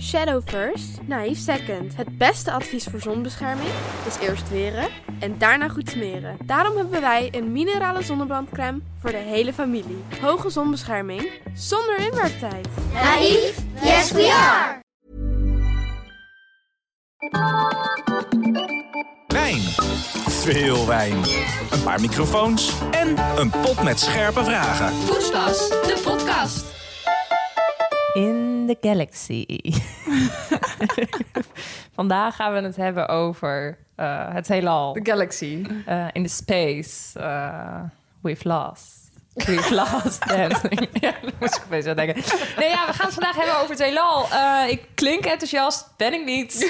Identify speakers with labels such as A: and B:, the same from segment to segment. A: Shadow first, naïef second. Het beste advies voor zonbescherming is eerst weren en daarna goed smeren. Daarom hebben wij een minerale zonnebrandcrème voor de hele familie. Hoge zonbescherming zonder inwerktijd.
B: Naïef? Yes, we are!
C: Wijn. Veel wijn. Een paar microfoons en een pot met scherpe vragen.
D: Poespas, de podcast.
E: In the Galaxy. Vandaag gaan we het hebben over eh, het heelal.
F: The Galaxy.
E: Eh, in the space. eh, we've lost. We've lost that. ja, daar moest ik opeens aan denken. Nee, ja, we gaan het vandaag hebben over het heelal. Eh, ik klink enthousiast, ben ik niet.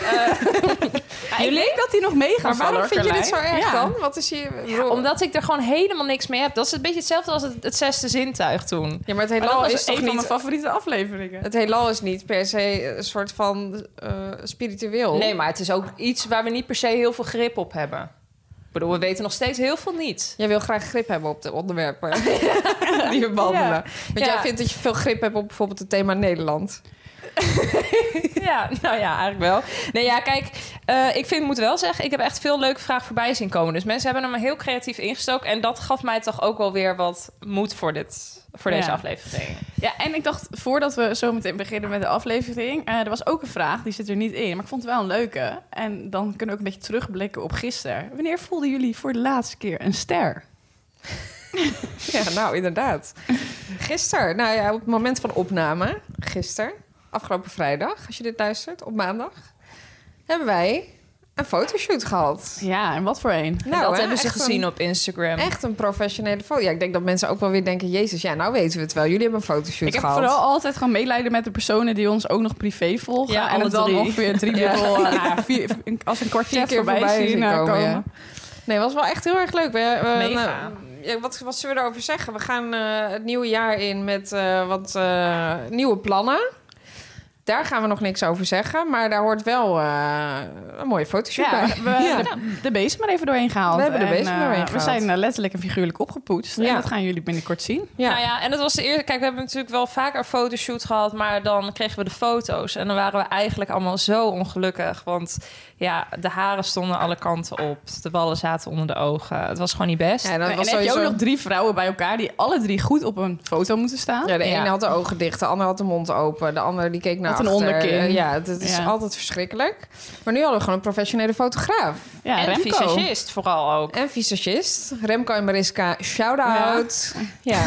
E: Eh, ja, ik denk dat hij nog mee
F: Maar waarom vind je dit zo erg
E: ja.
F: dan? Wat is je... bedoel-
E: Omdat ik er gewoon helemaal niks mee heb. Dat is een beetje hetzelfde als het, het zesde zintuig toen.
F: Ja, maar het
G: Maar
F: heelal
G: dat
F: is
G: was
F: toch
G: een van mijn
F: niet...
G: favoriete afleveringen.
F: Het heelal is niet per se een soort van eh, spiritueel.
E: Nee, maar het is ook iets waar we niet per se heel veel grip op hebben. Ik bedoel, we weten nog steeds heel veel niet.
F: Jij wil graag grip hebben op de onderwerpen die we behandelen.
G: Ja.
F: Want jij
E: Ja.
F: vindt dat je veel grip hebt op bijvoorbeeld het thema Nederland.
E: Ja, nou ja, eigenlijk wel. Nee, ja, kijk, eh, ik vind, moet wel zeggen, ik heb echt veel leuke vragen voorbij zien komen. Dus mensen hebben hem heel creatief ingestoken. En dat gaf mij toch ook wel weer wat moed voor, dit, voor deze
G: Ja.
E: aflevering.
F: Nou,
G: Ja, en ik dacht, voordat we zo meteen beginnen met de aflevering... eh, er was ook een vraag, die zit er niet in, maar ik vond het wel een leuke. En dan kunnen we ook een beetje terugblikken op gisteren. Wanneer voelden jullie voor de laatste keer een ster?
F: Ja, nou inderdaad. Gisteren, nou ja, op het moment van opname, gisteren, afgelopen vrijdag, als je dit luistert, op maandag, hebben wij een fotoshoot gehad.
G: Ja, en wat voor een?
F: Nou,
E: dat
F: hè,
E: hebben ze
F: echt
E: gezien
F: een-
E: op Instagram.
F: Echt een professionele foto. Ja, ik denk dat mensen ook wel weer denken... Jezus, ja, nou weten we het wel. Jullie hebben een fotoshoot
G: Ik heb
F: gehad.
G: vooral altijd gewoon meelijden met de personen die ons ook nog privé volgen.
E: Ja,
G: en
E: alle
G: het dan
E: drie.
G: ongeveer drie
F: Ja.
G: keer wel, eh, nou ja, vier, als een kwartier
F: keer
G: voorbij,
F: voorbij
G: zien
F: zien
G: eh,
F: komen,
G: komen.
F: ja. Nee, was wel echt heel erg leuk. We, we-
E: Mega.
F: nou, ja, wat, wat zullen we erover zeggen? We gaan eh, het nieuwe jaar in met eh, wat eh, nieuwe plannen. Daar gaan we nog niks over zeggen. Maar daar hoort wel eh, een mooie fotoshoot
G: Ja,
F: bij.
G: we hebben de, de bezem maar even doorheen gehaald.
F: We hebben de
G: En,
F: bezem
G: eh,
F: doorheen
G: We
F: gehaald.
G: zijn eh, letterlijk en figuurlijk opgepoetst.
F: Ja.
G: En dat gaan jullie binnenkort zien.
F: Ja.
E: Nou ja, en dat was de eerste. Kijk, we hebben natuurlijk wel vaker een fotoshoot gehad, maar dan kregen we de foto's. En dan waren we eigenlijk allemaal zo ongelukkig. Want ja, de haren stonden alle kanten op. De ballen zaten onder de ogen. Het was gewoon niet best.
F: Ja, dat
G: en
F: was
G: heb je
F: sowieso...
G: ook nog drie vrouwen bij elkaar die alle drie goed op een foto moeten staan.
F: Ja, de
E: Ja.
F: ene had de ogen dicht, de ander had de mond open. De ander die keek naar
G: Had een
F: achter.
G: onderkin.
F: Eh, Ja, het, het is
G: Ja.
F: altijd verschrikkelijk. Maar nu hadden we gewoon een professionele fotograaf.
G: Ja,
E: en
G: Remco.
E: visagist vooral ook.
F: En visagist. Remco en Mariska, shout-out. Ja.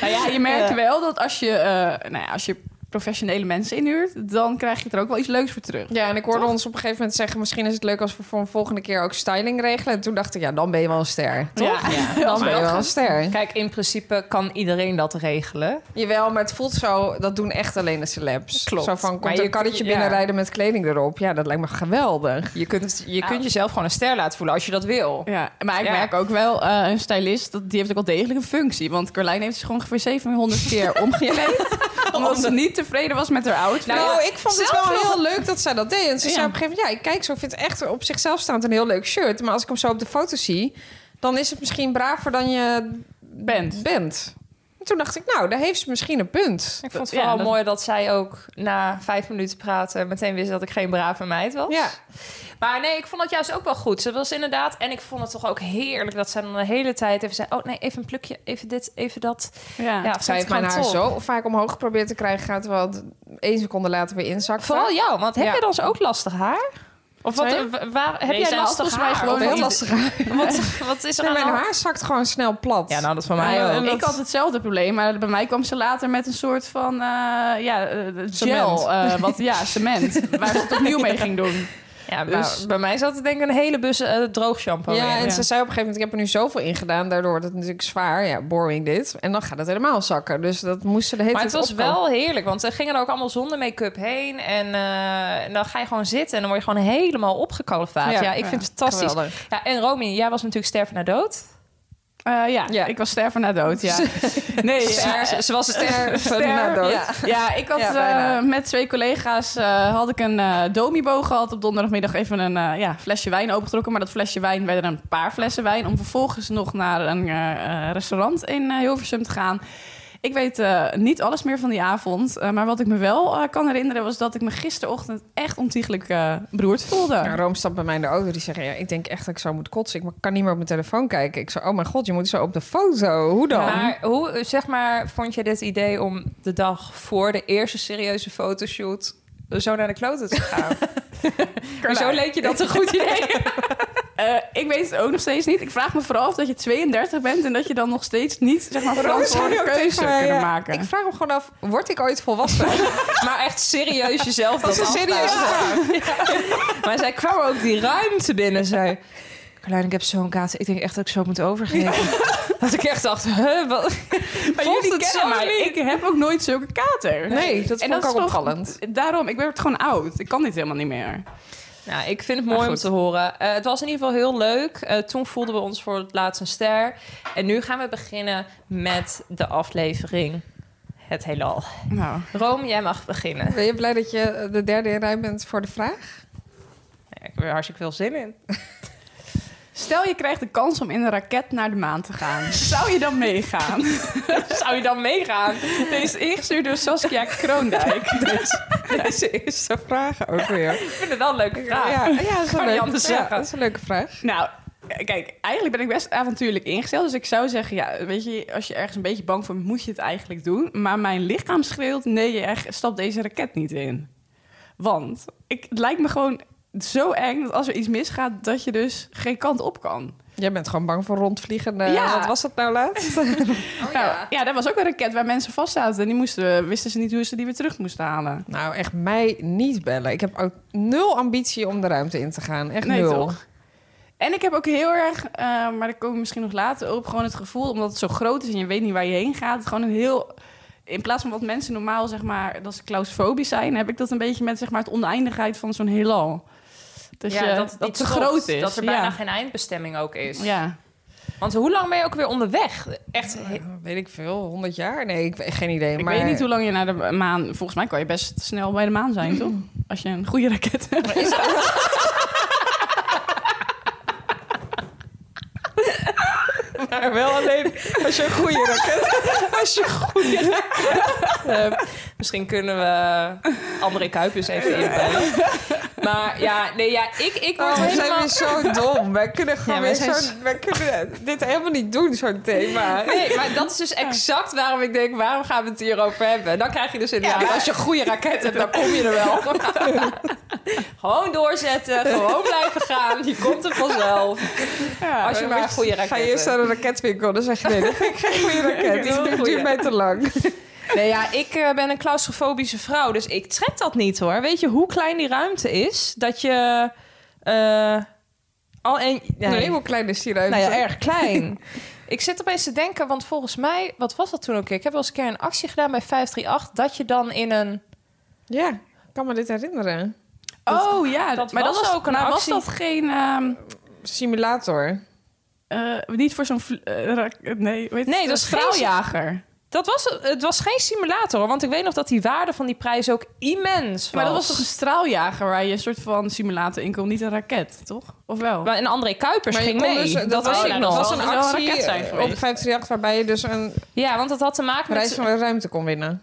G: Nou ja, je merkt wel dat als je, eh, nou ja, als je professionele mensen inhuurt, dan krijg je er ook wel iets leuks voor terug.
F: Ja, en ik hoorde ons op een gegeven moment zeggen... misschien is het leuk als we voor een volgende keer ook styling regelen. En toen dacht ik, ja, dan ben je wel een ster.
G: Ja,
F: Dan ben je wel een ster.
E: Kijk, in principe kan iedereen dat regelen.
F: Jawel, maar het voelt zo... dat doen echt alleen de celebs.
E: Klopt.
F: Zo van,
E: Maar
F: komt
E: je-
F: een karretje
E: ja.
F: binnenrijden met kleding erop. Ja, dat lijkt me geweldig.
E: Je kunt, je
G: Nou.
E: kunt jezelf gewoon een ster laten voelen als je dat wil.
G: Ja, maar ik
E: Ja.
G: merk ook wel, eh, een stylist, dat, die heeft ook wel degelijk een functie. Want Carlijn heeft zich gewoon ongeveer 700 keer omgekleed. omdat ze niet tevreden was met haar outfit.
F: Nou, ik vond het
G: zelf
F: wel
G: nog-
F: heel leuk dat zij dat deed. En ze
G: Ja.
F: zei op een gegeven moment... ja, ik kijk zo, ik vind het echt op zichzelf staand een heel leuk shirt. Maar als ik hem zo op de foto zie... dan is het misschien braver dan je
G: Bent.
F: bent. En toen dacht ik, nou, daar heeft ze misschien een punt.
E: Ik vond het
G: Ja,
E: vooral
G: dat-
E: mooi dat zij ook na vijf minuten praten... meteen wist dat ik geen brave meid was.
F: Ja.
E: Maar nee, ik vond dat juist ook wel goed. Ze was inderdaad... En ik vond het toch ook heerlijk dat zij dan de hele tijd even zei... Oh nee, even een plukje, even dit, even dat.
G: Ja.
E: Ja,
F: Zij
E: zij
F: heeft mijn haar zo vaak omhoog geprobeerd te krijgen... gaat wel het één seconde later weer inzakken.
E: Vooral jou, want heb
F: Ja.
E: jij dan zo ook lastig haar? Of wat,
F: Sorry?
E: w- waar, heb
G: Nee,
E: jij
G: zij had
E: lastig
G: volgens mij
E: haar?
G: gewoon
E: Of
F: heel
E: wat-
F: lastig haar.
E: Wat, wat is er
F: Nee,
E: aan de
F: mijn
E: hand?
F: haar zakt gewoon snel plat.
E: Ja, nou, dat is voor
G: Ja,
E: mij
G: joh,
E: ook.
G: Ik had hetzelfde probleem, maar bij mij kwam ze later met een soort van eh, ja, eh,
F: Cement.
G: gel. eh, wat, ja, cement. waar ze het opnieuw mee ging doen.
E: Ja, nou.
G: Dus-
E: bij- bij mij zat het denk ik een hele bus eh, droog shampoo
F: Ja,
E: in.
F: en
G: ja.
F: ze zei op een gegeven moment... ik heb er nu zoveel in gedaan, daardoor wordt het natuurlijk zwaar. Ja, boring dit. En dan gaat het helemaal zakken. Dus dat moest ze de hele
E: Maar
F: tijd
E: het was
F: opkomen.
E: wel heerlijk, want ze gingen er ook allemaal zonder make-up heen. En eh, en dan ga je gewoon zitten en dan word je gewoon helemaal opgekalfaat. Ja,
F: Ja,
E: ik
F: ja,
E: vind het fantastisch.
F: geweldig.
E: Ja, en Romy, jij was natuurlijk sterven na dood.
G: Eh, ja,
F: Ja.
G: ik was sterven na dood, ja. Nee, ja,
E: Ze, ze was het
F: Ster- na dood.
G: Ja. Ja, ik had
F: Ja,
G: eh,
F: bijna.
G: met twee collega's eh, had ik een eh domibo gehad. Op donderdagmiddag even een eh, ja, flesje wijn opengetrokken. Maar dat flesje wijn werden een paar flessen wijn. Om vervolgens nog naar een eh, eh, restaurant in eh, Hilversum te gaan. Ik weet eh, niet alles meer van die avond. eh, maar wat ik me wel eh, kan herinneren was dat ik me gisterochtend echt ontiegelijk eh, beroerd voelde.
F: Ja, Rome stapt bij mij in de auto. Die zeggen, ja, ik denk echt dat ik zou moeten kotsen. Ik kan niet meer op mijn telefoon kijken. Ik zei, oh mijn god, je moet zo op de foto. Hoe dan?
E: Maar hoe, zeg maar, vond je dit idee om de dag voor de eerste serieuze fotoshoot zo naar de kloten te gaan? Hoezo leek je dat een goed idee?
G: Eh, ik weet het ook nog steeds niet. Ik vraag me vooral of dat je 32 bent en dat je dan nog steeds niet zeg maar, verantwoorde keuze
F: Ja,
G: kunnen
F: ja.
G: maken.
F: Ik vraag me gewoon af, word ik ooit volwassen?
E: maar echt serieus jezelf dat,
F: is een
E: afvragen.
F: serieuze
E: Maar zij kwam ook die ruimte binnen. Zei, Carlijn, ik heb zo'n kaart. Ik denk echt dat ik zo moet overgeven. dat ik echt dacht, huh, wat?
G: Maar
E: Voelt
G: jullie
E: het
G: kennen
E: zo
G: mij.
E: niet?
G: Ik heb ook nooit zulke kater.
F: Nee, dat
G: En
F: vond ik
G: is
F: ook
G: toch-
F: opvallend.
G: Daarom, ik werd gewoon oud. Ik kan dit helemaal niet meer.
E: Nou, ik vind het mooi om
G: goed.
E: te horen. Eh, het was in ieder geval heel leuk. Eh, toen voelden we ons voor het laatst een ster. En nu gaan we beginnen met de aflevering Het Heelal.
G: Nou,
E: Rome, jij mag beginnen.
F: Ben je blij dat je eh, de derde in rij bent voor de vraag?
E: Ja, ik heb er hartstikke veel zin in.
G: stel je krijgt de kans om in een raket naar de maan te gaan. Zou je dan meegaan?
E: Zou je dan meegaan?
G: Deze is ingestuurd door Saskia Kroondijk.
F: Deze eerste vraag ook weer.
E: Ik vind het wel een leuke vraag.
F: Ja, ja, dat, is
E: Kan
F: wel
E: niet
F: leuk.
E: anders
F: ja
E: zeggen.
F: dat is een leuke vraag.
G: Nou, kijk, eigenlijk ben ik best avontuurlijk ingesteld. Dus ik zou zeggen, ja, weet je, als je ergens een beetje bang voor bent, moet je het eigenlijk doen. Maar mijn lichaam schreeuwt, nee, je echt, stap deze raket niet in. Want ik, het lijkt me gewoon zo eng dat als er iets misgaat, dat je dus geen kant op kan.
F: Jij bent gewoon bang voor rondvliegen. eh,
G: Ja.
F: Wat was dat nou laatst?
G: Nou, ja, dat was ook een raket waar mensen vast zaten. En die moesten, wisten ze niet hoe ze die weer terug moesten halen.
F: nou, echt mij niet bellen. Ik heb ook nul ambitie om de ruimte in te gaan. Echt
G: Nee,
F: nul.
G: toch? En ik heb ook heel erg, eh, maar daar komen we misschien nog later op, gewoon het gevoel, omdat het zo groot is en je weet niet waar je heen gaat, gewoon een heel... In plaats van wat mensen normaal, zeg maar, dat ze claustrofobisch zijn, heb ik dat een beetje met, zeg maar, het oneindigheid van zo'n heelal. Dus
E: Ja,
G: je-
E: dat het
G: dat
E: niet
G: te
E: stopt,
G: groot is.
E: Dat er
G: ja.
E: bijna geen eindbestemming ook is.
G: Ja.
E: Want hoe lang ben je ook weer onderweg? Echt, he-
F: Eh, Weet ik veel, 100 jaar? Nee, ik heb geen idee.
G: Ik
F: maar
G: weet niet hoe lang je naar de maan... Volgens mij kan je best snel bij de maan zijn,
E: Mm.
G: toch? Als je een goede raket hebt.
F: Maar wel alleen als je een goede raket als je goed...
E: eh, misschien kunnen we André Kuipers even inbellen. Maar ja, nee, ja, ik, ik word
F: Oh, we zijn
E: helemaal...
F: weer zo dom. Wij kunnen gewoon
E: Ja, wij
F: weer
E: zijn
F: zo... Wij kunnen dit helemaal niet doen, zo'n thema.
E: Nee, maar dat is dus exact waarom ik denk, waarom gaan we het hierover hebben? Dan krijg je dus inderdaad, als je een goede raket hebt, dan kom je er wel. gewoon doorzetten, gewoon blijven gaan, je komt er vanzelf. als je maar een goede raket
F: Ga je eerst
E: hebt.
F: naar een raketwinkel, dan zeg je nee, dat vind ik geen goede raket.
E: wil een
F: Die
E: goeie.
F: duurt mij te lang.
E: Nee, ja, ik eh, ben een claustrofobische vrouw, dus ik trek dat niet hoor. Weet je hoe klein die ruimte is? Dat je. eh, al en, nee,
F: Nee, hoe klein is die ruimte?
E: nou ja, erg klein. ik zit opeens te denken, want volgens mij, wat was dat toen ook? Ik heb wel eens een keer een actie gedaan bij 538, dat je dan in een.
F: Ja, ik kan me dit herinneren.
G: Oh ja,
E: dat
G: maar
E: was
G: dat was
E: ook een
G: maar
E: actie.
G: was dat geen... ehm,
F: Simulator.
G: eh, niet voor zo'n... vl- eh, rak- nee, weet
E: Nee, dat is geen-
G: straaljager.
E: Dat was, het was geen simulator, hoor, want ik weet nog dat die waarde van die prijs ook immens was.
G: Maar dat was toch een straaljager waar je een soort van simulator in kon, niet een raket, toch? Of wel?
E: Maar- En André Kuipers
F: Maar je
E: ging
F: kon
E: mee.
F: dus-
E: dat,
F: dat
E: weet
F: was-
E: ik
F: dat
E: nog.
F: was een
G: Dat zou een
F: actie eh,
G: raket zijn
F: op
G: geweest.
F: 538 waarbij je dus een
E: Ja, want dat had te maken met
F: reis van de ruimte kon winnen.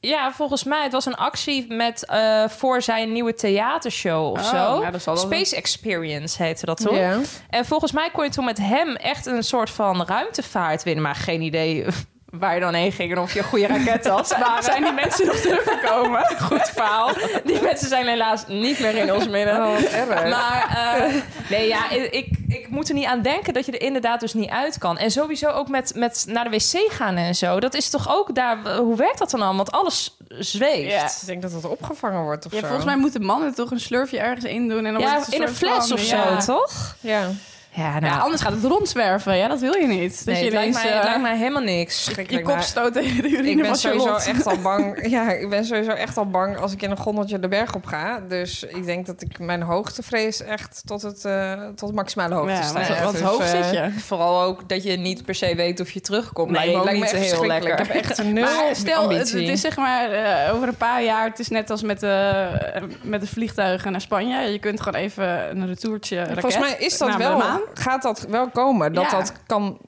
E: Ja, volgens mij. Het was een actie met, eh, voor zijn nieuwe theatershow of
G: Oh,
E: zo.
G: ja, dat zal wel
E: Space Experience heette dat toch?
F: Oh,
E: En volgens mij kon je toen met hem echt een soort van ruimtevaart winnen. Maar geen idee waar je dan heen ging en of je een goede raket had. Maar zijn die mensen nog teruggekomen? Goed verhaal. Die mensen zijn helaas niet meer in ons midden.
F: Oh, wat erg.
E: Maar eh, nee, ja, ik, ik- ik moet er niet aan denken dat je er inderdaad dus niet uit kan. En sowieso ook met, met naar de wc gaan en zo. Dat is toch ook daar... Hoe werkt dat dan allemaal? Want alles zweeft.
G: Ja.
F: Ik denk dat dat opgevangen wordt of
G: Ja,
F: zo.
G: volgens mij moeten mannen toch een slurfje ergens in doen. En dan
E: Ja,
G: wordt het
E: in een
G: soort
E: fles
G: van-
E: of zo,
G: ja.
E: toch?
F: Ja.
E: Ja, nou,
G: Ja, anders gaat het rondzwerven. Ja, dat wil je niet. Dat
E: nee,
G: je
E: het, lijkt
G: ineens,
E: mij, het
G: eh,
E: lijkt mij helemaal niks.
G: je
F: Schrikkelijk,
G: kop
F: maar
G: stoot tegen de
F: Ik
G: urine
F: ben
G: van
F: sowieso
G: Charlotte.
F: echt al bang. Ja, ik ben sowieso echt al bang als ik in een gondeltje de berg op ga. Dus ik denk dat ik mijn hoogtevrees echt tot het eh, tot maximale hoogte
G: Ja,
F: stijgt.
G: want- want
F: Dus,
G: hoog
F: eh,
G: zit je.
E: Vooral ook dat je niet per se weet of je terugkomt.
F: Nee,
E: lijkt me ook
F: lijkt me
E: niet
F: echt
E: heel
F: verschrikkelijk.
E: lekker.
F: Ik heb echt nul
G: Maar stel, het,
F: ambitie.
G: het is zeg maar eh, over een paar jaar... Het is net als met de, met de vliegtuigen naar Spanje. Je kunt gewoon even een retourtje raket
F: Volgens mij is dat
G: naar de
F: wel,
G: maan.
F: gaat dat wel komen. Dat
G: Nou, Ja.
F: dat kan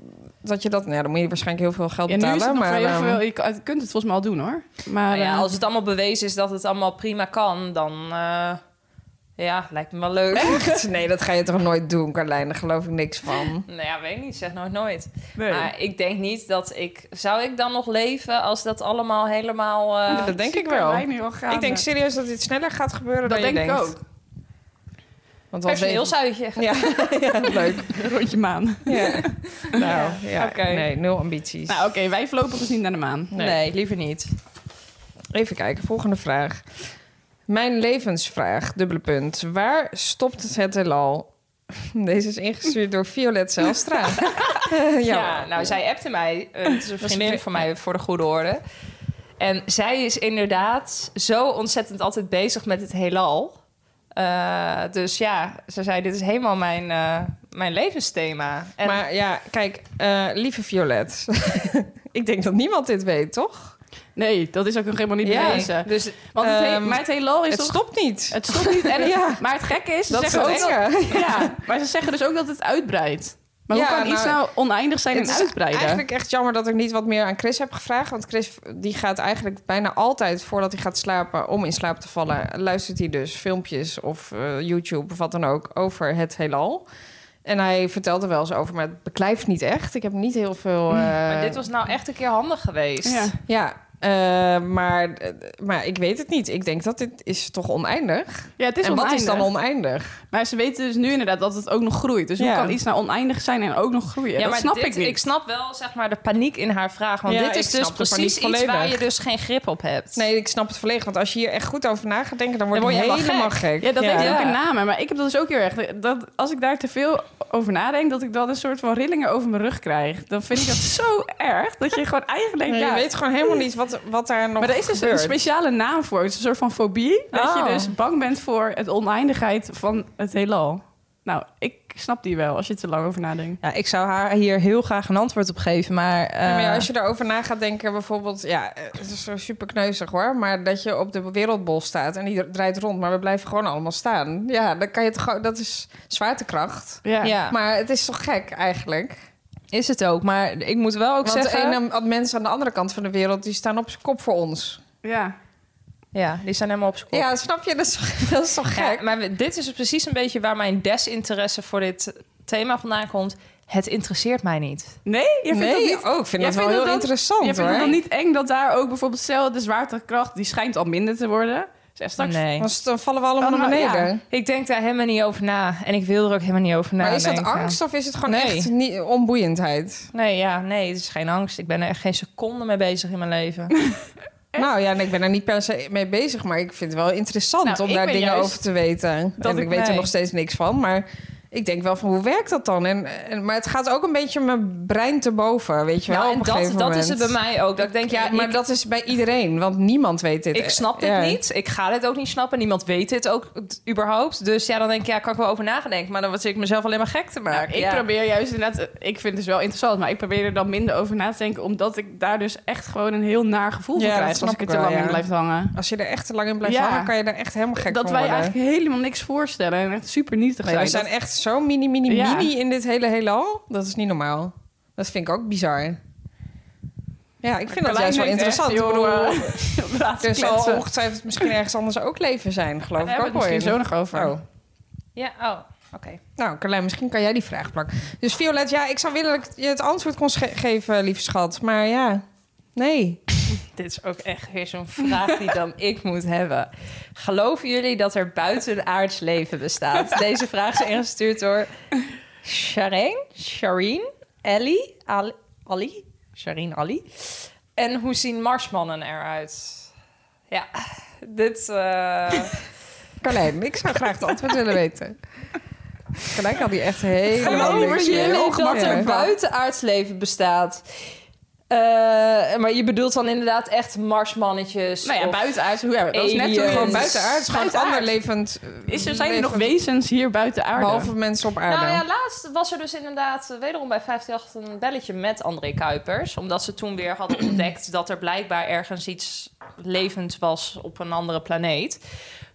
F: dat je dat... Nou, ja, dan moet je waarschijnlijk heel veel geld
G: Ja,
F: betalen.
G: nu is het nog
F: maar,
G: vrij
F: ehm,
G: veel. Je kan- kunt het volgens mij al doen hoor. Maar
E: Nou ja,
G: eh,
E: als het allemaal bewezen is dat het allemaal prima kan, dan eh, ja, lijkt me wel leuk.
F: Echt? Nee, dat ga je toch nooit doen, Carlijn? Daar geloof ik niks van.
E: Nou ja, weet ik niet, zeg nooit nooit.
G: nee.
E: Maar ik denk niet dat ik... Zou ik dan nog leven als dat allemaal helemaal... eh,
F: dat denk ik
G: Zie
F: wel.
G: Carlijn nu al gaande.
F: Ik denk serieus dat dit sneller gaat gebeuren
G: dat
F: dan je
G: denk ik
F: denkt.
G: ook.
F: Want wat
E: personeelsuitje.
F: weet- Ja, ja, leuk.
G: Rondje maan.
F: Ja. Nou, ja.
E: Oké.
F: Nee, nul ambities.
G: Nou oké, wij voorlopig dus niet naar de maan.
E: Nee. liever niet.
F: Even kijken, volgende vraag. Mijn levensvraag, dubbele punt. Waar stopt het heelal? Deze is ingestuurd door Violet Zelstra. ja,
E: Ja, nou, zij appte mij. eh, Het is een vriendin van mij, voor de goede orde. En zij is inderdaad zo ontzettend altijd bezig met het heelal. Eh, dus ja, ze zei, dit is helemaal mijn, eh, mijn levensthema. En
F: Maar ja, kijk, eh, lieve Violet. ik denk dat niemand dit weet, toch?
G: Nee, dat is ook nog helemaal niet
F: Ja.
G: bewezen.
E: dus
G: Want het, he-
F: Ehm,
G: maar het heelal is
F: Het
G: toch...
F: stopt niet.
G: Het stopt niet. En het-
F: Ja.
G: Maar het gekke is, ze
F: Dat is
G: zeggen
F: het
G: ook dat,
F: enge.
G: ja, maar ze zeggen dus ook dat het uitbreidt. Maar
F: Ja,
G: hoe kan iets
F: nou,
G: nou oneindig zijn en
F: Het is
G: uitbreiden?
F: Eigenlijk echt jammer dat ik niet wat meer aan Chris heb gevraagd. Want Chris die gaat eigenlijk bijna altijd voordat hij gaat slapen, om in slaap te vallen, luistert hij dus filmpjes of eh, YouTube of wat dan ook over het heelal. En hij vertelt er wel eens over, maar het beklijft niet echt. Ik heb niet heel veel. eh,
E: Maar dit was nou echt een keer handig geweest.
G: Ja.
F: Ja. eh, maar, eh, maar ik weet het niet. Ik denk dat dit is toch oneindig.
G: Ja, het is
F: en wat
G: oneindig.
F: is dan oneindig?
G: Maar ze weten dus nu inderdaad dat het ook nog groeit. Dus hoe
F: Ja.
G: kan iets nou oneindig zijn en ook nog groeien? dat snap
E: dit-
G: ik niet.
E: Ik snap wel zeg maar de paniek in haar vraag. Want
F: Ja,
E: dit is
F: ik
E: dus
F: snap de
E: precies
F: paniek
E: iets waar
F: volledig.
E: je dus geen grip op hebt.
F: Nee, ik snap het volledig. Want als je hier echt goed over na gaat denken, dan word,
E: Dan
F: je
E: word je
F: helemaal,
E: helemaal
F: gek.
G: Ja, dat weet
E: Ja.
G: ik ook in namen. Maar ik heb dat dus ook heel erg. Dat, als ik daar te veel over nadenk, dat ik dan een soort van rillingen over mijn rug krijg. Dan vind ik dat zo erg. Dat je gewoon eigenlijk...
F: Nee,
G: ja,
F: Je weet gewoon helemaal niet wat, wat daar nog
G: maar er is dus een
F: gebeurt.
G: speciale naam voor. Het is een soort van fobie. Dat
F: Oh.
G: je dus bang bent voor het oneindigheid van het heelal. Nou, ik snap die wel als je te lang over nadenkt.
E: Ja, ik zou haar hier heel graag een antwoord op geven, maar... eh,
F: Ja, maar ja, als je erover na gaat denken, bijvoorbeeld, ja, eh, het is zo super kneuzig hoor, maar dat je op de wereldbol staat en die draait rond, maar we blijven gewoon allemaal staan. Ja, dan kan je toch gewoon- dat is zwaartekracht.
G: Ja.
E: ja,
F: Maar het is toch gek eigenlijk?
E: is het ook. Maar ik moet wel ook
F: Want
E: zeggen...
F: de ene- mensen aan de andere kant van de wereld, die staan op zijn kop voor ons.
G: ja.
E: Ja, die zijn helemaal op school.
F: Ja, snap je? Dat is, toch- dat is toch
E: Ja,
F: gek?
E: maar we- dit is precies een beetje waar mijn desinteresse voor dit thema vandaan komt. Het interesseert mij niet.
G: Nee? Je vindt dat
F: nee,
G: niet...
F: oh, ik vind
G: Jij
F: dat wel
G: vindt
F: heel
G: dat dan-
F: interessant
G: Je vindt
F: hoor.
G: het dan niet eng dat daar ook bijvoorbeeld cel, de zwaartekracht, die schijnt al minder te worden. Dus straks
E: Nee.
F: Want dan vallen we allemaal naar
G: Allemaal, ja.
F: beneden.
E: Ik denk daar helemaal niet over na. En ik wil er ook helemaal niet over na.
F: Maar is dat
E: denken.
F: angst of is het gewoon
E: Nou, Nee.
F: echt niet, onboeiendheid?
E: Nee, ja, nee, het is geen angst. Ik ben er echt geen seconde mee bezig in mijn leven.
F: Nou ja, en ik ben er niet per se mee bezig, maar ik vind het wel interessant
E: Nou,
F: om
E: ik
F: daar
E: ben
F: dingen
E: juist
F: over te weten.
E: dat
F: en ik
E: ik
F: weet er
E: mij-
F: nog steeds niks van, maar ik denk wel van hoe werkt dat dan? En, en, maar het gaat ook een beetje mijn brein te boven, weet je wel?
E: Nou,
F: op
E: en
F: een
E: dat,
F: gegeven
E: dat
F: moment.
E: is het bij mij ook. Dat ik denk, ja,
F: maar
E: ik,
F: dat is bij iedereen, want niemand weet dit.
E: ik snap dit
F: Ja.
E: niet. Ik ga dit ook niet snappen. Niemand weet dit ook t- überhaupt. Dus ja, dan denk ik, ja, kan ik wel over nagedenken. Maar dan zit ik mezelf alleen maar gek te
G: Nou,
E: maken.
G: ik
E: ja.
G: probeer juist inderdaad, eh, ik vind het dus wel interessant, maar ik probeer er dan minder over na te denken, omdat ik daar dus echt gewoon een heel naar
F: Ja,
G: gevoel van
F: dat
G: krijg
F: snap
G: als ik er
F: ik
G: te
F: wel,
G: lang
F: ja.
G: in blijf hangen.
F: Als je er echt te lang in blijft
G: Ja.
F: hangen, kan je er echt helemaal gek
G: dat
F: van
G: wij
F: worden.
G: eigenlijk helemaal niks voorstellen en echt super nietig
F: Nee,
G: zijn.
F: we zijn
G: Dat-
F: echt zo mini, mini,
G: Ja.
F: mini in dit hele heelal. Dat is niet normaal. Dat vind ik ook bizar. Ja, ik vind dat
G: Carlijn
F: juist wel
G: denkt echt,
F: interessant. Ik
G: joh,
F: bedoel,
G: eh, we laten
F: Er zal
G: kletsen.
F: ongetwijfeld misschien ergens anders ook leven zijn, geloof
G: Daar
F: ik
G: hebben we
F: ook
G: het misschien
F: wel
G: zo
F: in.
G: nog over.
F: Oh.
E: Ja, oh, oké.
F: Nou, Carlijn, misschien kan jij die vraag plakken. Dus Violet, ja, ik zou willen dat ik je het antwoord kon sche- geven, lieve schat. Maar ja, nee.
E: Dit is ook echt weer zo'n vraag die dan ik moet hebben. Geloven jullie dat er buitenaards leven bestaat? Deze vraag is ingestuurd door Shireen, Shireen, Ellie, Ali, Ali, Shireen Ali. En hoe zien Marsmannen eruit? Ja, dit... eh,
F: Carlijn, ik zou graag het antwoord willen weten. Carlijn kan die echt helemaal
E: Geloven
F: niks meer.
E: jullie dat
F: Ongemakkelijk.
E: er buitenaards leven bestaat? Eh, maar je bedoelt dan inderdaad echt marsmannetjes?
G: Nou ja,
E: of-
G: buitenaards, hoe, ja, dat is net hoe je-
E: aliens.
F: Gewoon buitenaards, gewoon
G: Buitenaard.
F: ander levend...
G: Is er, zijn er nog
F: levend-
G: wezens hier buiten aarde?
F: Behalve mensen op aarde.
E: Nou ja, laatst was er dus inderdaad eh, wederom bij 538 een belletje met André Kuipers. Omdat ze toen weer hadden ontdekt dat er blijkbaar ergens iets levend was op een andere planeet.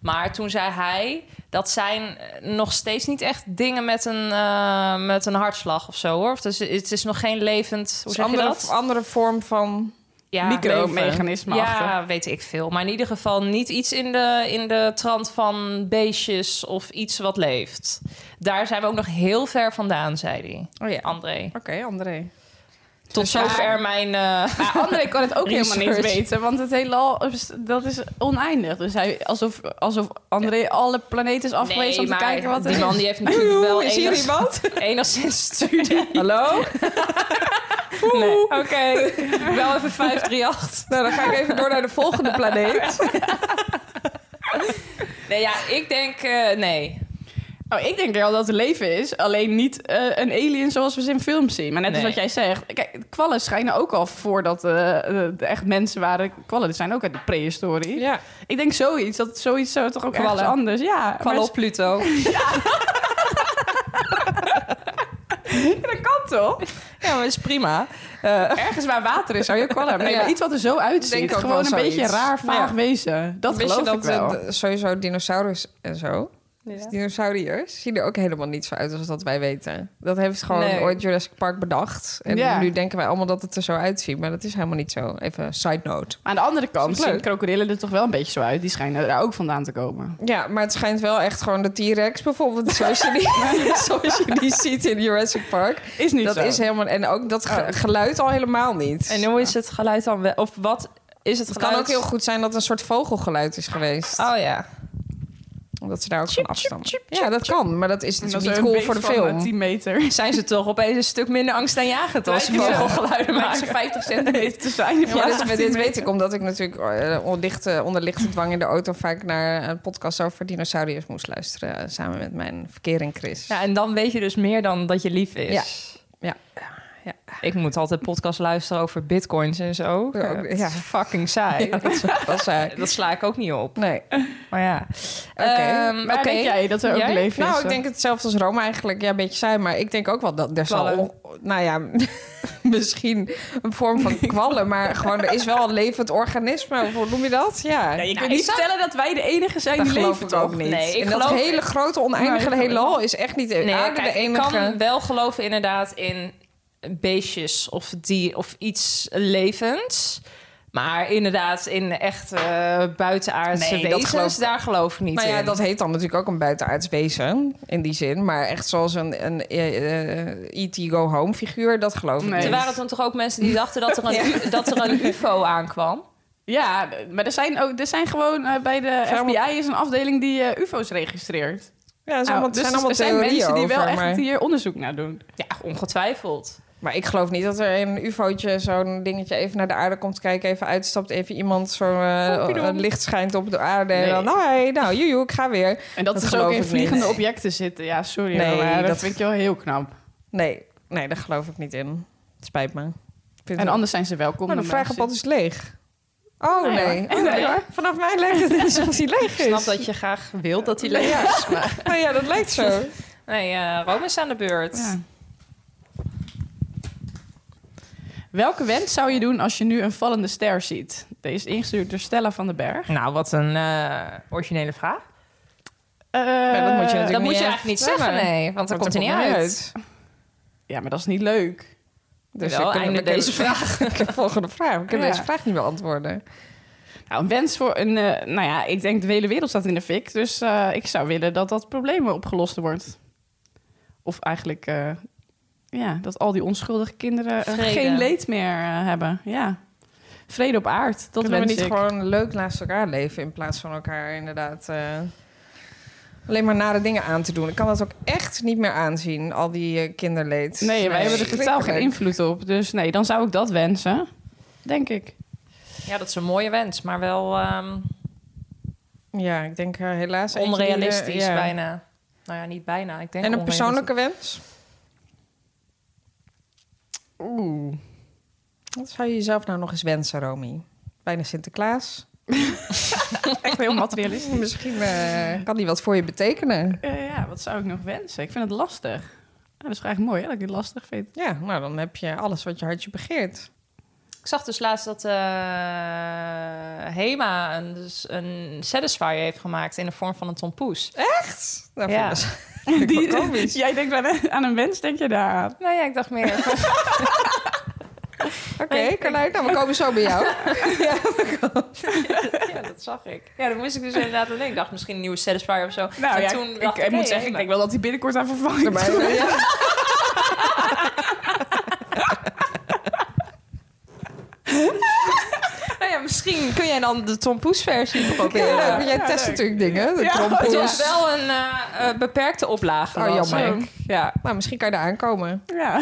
E: Maar toen zei hij, dat zijn eh, nog steeds niet echt dingen met een, eh, met een hartslag of zo hoor. Of dus, het is nog geen levend, hoe
F: Dus
E: zeg je
F: andere,
E: dat?
F: andere vorm van...
E: Ja,
G: micromechanisme
E: Ja,
G: achter.
E: weet ik veel. Maar in ieder geval niet iets in de, in de trant van beestjes of iets wat leeft. Daar zijn we ook nog heel ver vandaan, zei hij.
F: Oh ja, Oké,
E: André.
F: André.
E: Tot zover mijn... eh,
G: Dus Maar Ah, André kan het ook helemaal niet
E: Research.
G: weten, want het heelal is- dat is oneindig. Dus hij, alsof, alsof André alle planeten is afgewezen om
E: maar
G: te kijken wat er
E: Die man
G: is.
E: die heeft natuurlijk wel
F: is hier
E: enigszins,
F: iemand?
E: enigszins studie.
F: Hallo?
E: Nee, Oké, wel even 538.
F: Nou, dan ga ik even door naar de volgende planeet.
E: Nee, ja, ik denk... eh, nee.
G: Oh, ik denk wel dat er leven is, alleen niet eh, een alien zoals we ze in films zien. Maar net als
E: Nee.
G: wat jij zegt, kijk, kwallen schijnen ook al voordat eh, eh, er echt mensen waren. Kwallen zijn ook uit de prehistorie.
F: Ja.
G: Ik denk zoiets, dat zoiets zou toch ook ergens
E: Kwallen.
G: anders. Ja,
E: Kwal
G: maar
E: op Pluto.
G: dat kan toch?
E: Ja, maar is prima. Eh,
G: Ergens waar water is, zou je ook kwallen hebben. Nee,
F: Ja.
G: maar iets wat er zo
F: Denk
G: uitziet.
F: ook
G: Gewoon
F: wel
G: een beetje
F: zoiets.
G: raar, vaag
F: Ja.
G: wezen. Dat
F: Wist je
G: geloof
F: dat
G: ik wel.
F: eh, d- sowieso dinosaurus en zo. Dus dinosauriërs zien er ook helemaal niet zo uit als dat wij weten. Dat heeft gewoon
E: Nee.
F: ooit Jurassic Park bedacht. En
G: Ja.
F: nu denken wij allemaal dat het er zo uitziet. Maar dat is helemaal niet zo. Even side note.
G: Maar aan de andere kant
F: Is dat
G: zien
F: leuk?
G: krokodillen er toch wel een beetje zo uit. Die schijnen daar ook vandaan te komen.
F: Ja, maar het schijnt wel echt gewoon de T-Rex bijvoorbeeld. Zoals je, die, zoals je die ziet in Jurassic Park.
G: Is niet
F: Dat
G: zo. Oh.
F: is helemaal... En ook dat ge- geluid al helemaal niet.
E: En hoe is het geluid dan? wel- Of wat is het
F: het
E: geluid?
F: kan ook heel goed zijn dat het een soort vogelgeluid is geweest.
E: Oh ja.
F: Omdat ze daar ook van afstammen. ja, dat kan. Maar dat is
G: Dat
F: natuurlijk niet cool voor de film.
G: 10 eh, meter.
E: Zijn ze toch opeens een stuk minder angstaanjagend als ze
G: Lijken ze-
E: vogelgeluiden maken?
G: 50 centimeter te zijn. in
F: Ja,
G: plaats
F: dit,
G: van
F: dit
G: 10
F: weet
G: meter.
F: ik omdat ik natuurlijk eh, onlichte, onder lichte dwang in de auto vaak naar een podcast over dinosauriërs moest luisteren. eh, Samen met mijn verkering Chris.
E: Ja, en dan weet je dus meer dan dat je lief is.
F: Ja. Ja.
E: Ik moet altijd podcast luisteren over bitcoins en zo.
F: Ja, ook-
E: Dat is
F: ja.
E: fucking saai.
F: dat is wel saai.
E: Dat sla ik ook niet op.
F: Nee.
E: Maar ja. Ehm,
G: Maar
E: oké.
G: denk jij dat er ook
E: Jij?
G: leven is?
F: Nou, ik denk hetzelfde als Rome eigenlijk. Ja, een beetje saai, maar ik denk ook wel dat er zal...
E: Kwallen.
F: on- Nou ja, misschien een vorm van kwallen, maar gewoon er is wel een levend organisme. Hoe noem je dat? Ja.
G: Ja, je kunt
E: Nou, ik
G: niet
E: zou-
G: stellen dat wij de enige zijn
F: dat
G: die
F: geloof
G: leven
F: ik
G: toch?
F: ook niet.
E: Nee, ik
F: en dat
E: geloof-
F: hele grote oneindige
E: Maar-
F: heelal is echt niet de
E: Nou, Nee,
F: aarde
E: kijk,
F: Ah, de enige.
E: ik kan wel geloven inderdaad in beestjes of, die, of iets levends. Maar inderdaad, in echt eh, buitenaardse
F: Nee, dat
E: wezens,
F: geloof-
E: daar geloof ik niet
F: Nou ja,
E: in.
F: dat heet dan natuurlijk ook een buitenaards wezen in die zin. Maar echt zoals een, een eh, eh, E.T. Go Home figuur, dat geloof ik
G: Nee.
E: Er
F: niet.
E: waren toen toch ook mensen die dachten dat er een, u- dat er een ufo aankwam?
G: Ja, d- maar er zijn, ook, er zijn gewoon eh, bij de FBI is een afdeling die eh, UFO's registreert.
F: Ja, dat zijn
G: Nou,
F: allemaal,
G: dus
F: zijn allemaal
G: er zijn
F: theorieën
G: mensen die wel
F: over,
G: echt
F: maar,
G: hier onderzoek naar doen.
E: Ja, ongetwijfeld.
F: maar ik geloof niet dat er een ufootje zo'n dingetje even naar de aarde komt kijken, even uitstapt, even iemand zo eh, een licht schijnt op de aarde en
G: Nee.
F: dan, nou, hey, nou, joejoe, ik ga weer.
G: En dat,
F: Dat
G: is ook
F: geloof
G: in
F: ik
G: vliegende
F: niet.
G: objecten zitten. Ja, sorry,
F: Nee,
G: maar dat,
F: dat-
G: vind ik wel heel knap.
F: Nee, nee, daar geloof ik niet in. Het spijt me. Ik Vind
G: En
F: het-
G: anders zijn ze welkom.
F: Maar de
G: dan
F: vragenpad
G: mensen.
F: is leeg. Oh, nee.
G: hoor.
F: Oh, nee. Vanaf mij lijkt het alsof die leeg is.
E: Ik snap dat je graag wilt dat hij leeft.
F: Nou ja, dat lijkt zo.
E: Nee, eh, Rome is aan de beurt.
G: Ja. Welke wens zou je doen als je nu een vallende ster ziet? Deze is ingestuurd door Stella van den Berg.
E: Nou, wat een eh, originele vraag.
F: dat moet je
G: Eh,
F: natuurlijk
E: dat
F: niet
E: moet je
F: echt
E: eigenlijk niet zeggen,
F: vertellen.
E: nee. Want dan komt hij niet
F: er
E: uit.
G: Ja, maar dat is niet leuk.
F: Dus
E: Wel,
F: ik kan-
E: einde
F: ik kan-
E: deze
F: vraag. Ik heb volgende vraag. Ik kan
G: Ja.
F: deze vraag niet beantwoorden.
G: Nou, een wens voor een... eh, nou ja, ik denk de hele wereld staat in de fik. Dus eh, ik zou willen dat dat probleem opgelost wordt. Of eigenlijk... eh, ja, dat al die onschuldige kinderen eh,
E: Vrede.
G: geen leed meer eh, hebben. Ja. Vrede op aard. Dat
F: Dat we
G: wens
F: niet
G: ik.
F: gewoon leuk naast elkaar leven in plaats van elkaar inderdaad eh, alleen maar nare dingen aan te doen. Ik kan dat ook echt niet meer aanzien, al die eh, kinderleed.
G: Nee, wij hebben er totaal geen
F: verschrikkelijk.
G: invloed op. Dus nee, dan zou ik dat wensen. Denk ik.
E: Ja, dat is een mooie wens, maar wel ehm,
F: Ja, ik denk eh, helaas eentje die er-
E: onrealistisch
F: ja.
E: bijna. Nou ja, niet bijna. Ik denk
F: En een
E: onrealistisch.
F: persoonlijke wens? Oeh. Wat zou je jezelf nou nog eens wensen, Romy? Bijna Sinterklaas?
G: Echt heel materialistisch.
F: Misschien eh, kan die wat voor je betekenen.
G: Eh, ja, wat zou ik nog wensen? Ik vind het lastig. Nou, dat is eigenlijk mooi hè, dat ik het lastig vind.
F: Ja, nou dan heb je alles wat je hartje begeert.
E: Ik zag dus laatst dat eh, Hema een, dus een Satisfyer heeft gemaakt in de vorm van een tompoes.
F: Echt? Nou,
E: Ja.
F: vind ik- vind ik wel komisch.
G: jij denkt wel aan- aan een wens, denk je daar aan.
E: Nou ja, ik dacht meer. van-
F: Oké, Carlijn, nou, we komen zo bij jou.
E: ja, dat zag ik. Ja, dan moest ik dus inderdaad aan denken. Ik dacht misschien een nieuwe Satisfyer of zo.
G: Nou
E: en
G: ja,
E: toen
G: ik,
E: dacht
G: ik nou. moet
E: hey,
G: zeggen, ik
E: Hema.
G: denk wel dat hij binnenkort aan vervangen
F: Maar,
G: is.
F: eh, ja.
E: Nou ja, misschien kun jij dan de tompoes-versie proberen.
F: Ja,
E: Ja,
F: maar jij test natuurlijk dingen. De
G: Ja.
F: trompoes.
E: Het was wel een eh, eh, beperkte oplage.
F: Oh,
E: was
F: jammer.
E: het. Ja.
F: Nou, misschien kan je daar aankomen.
G: Ja,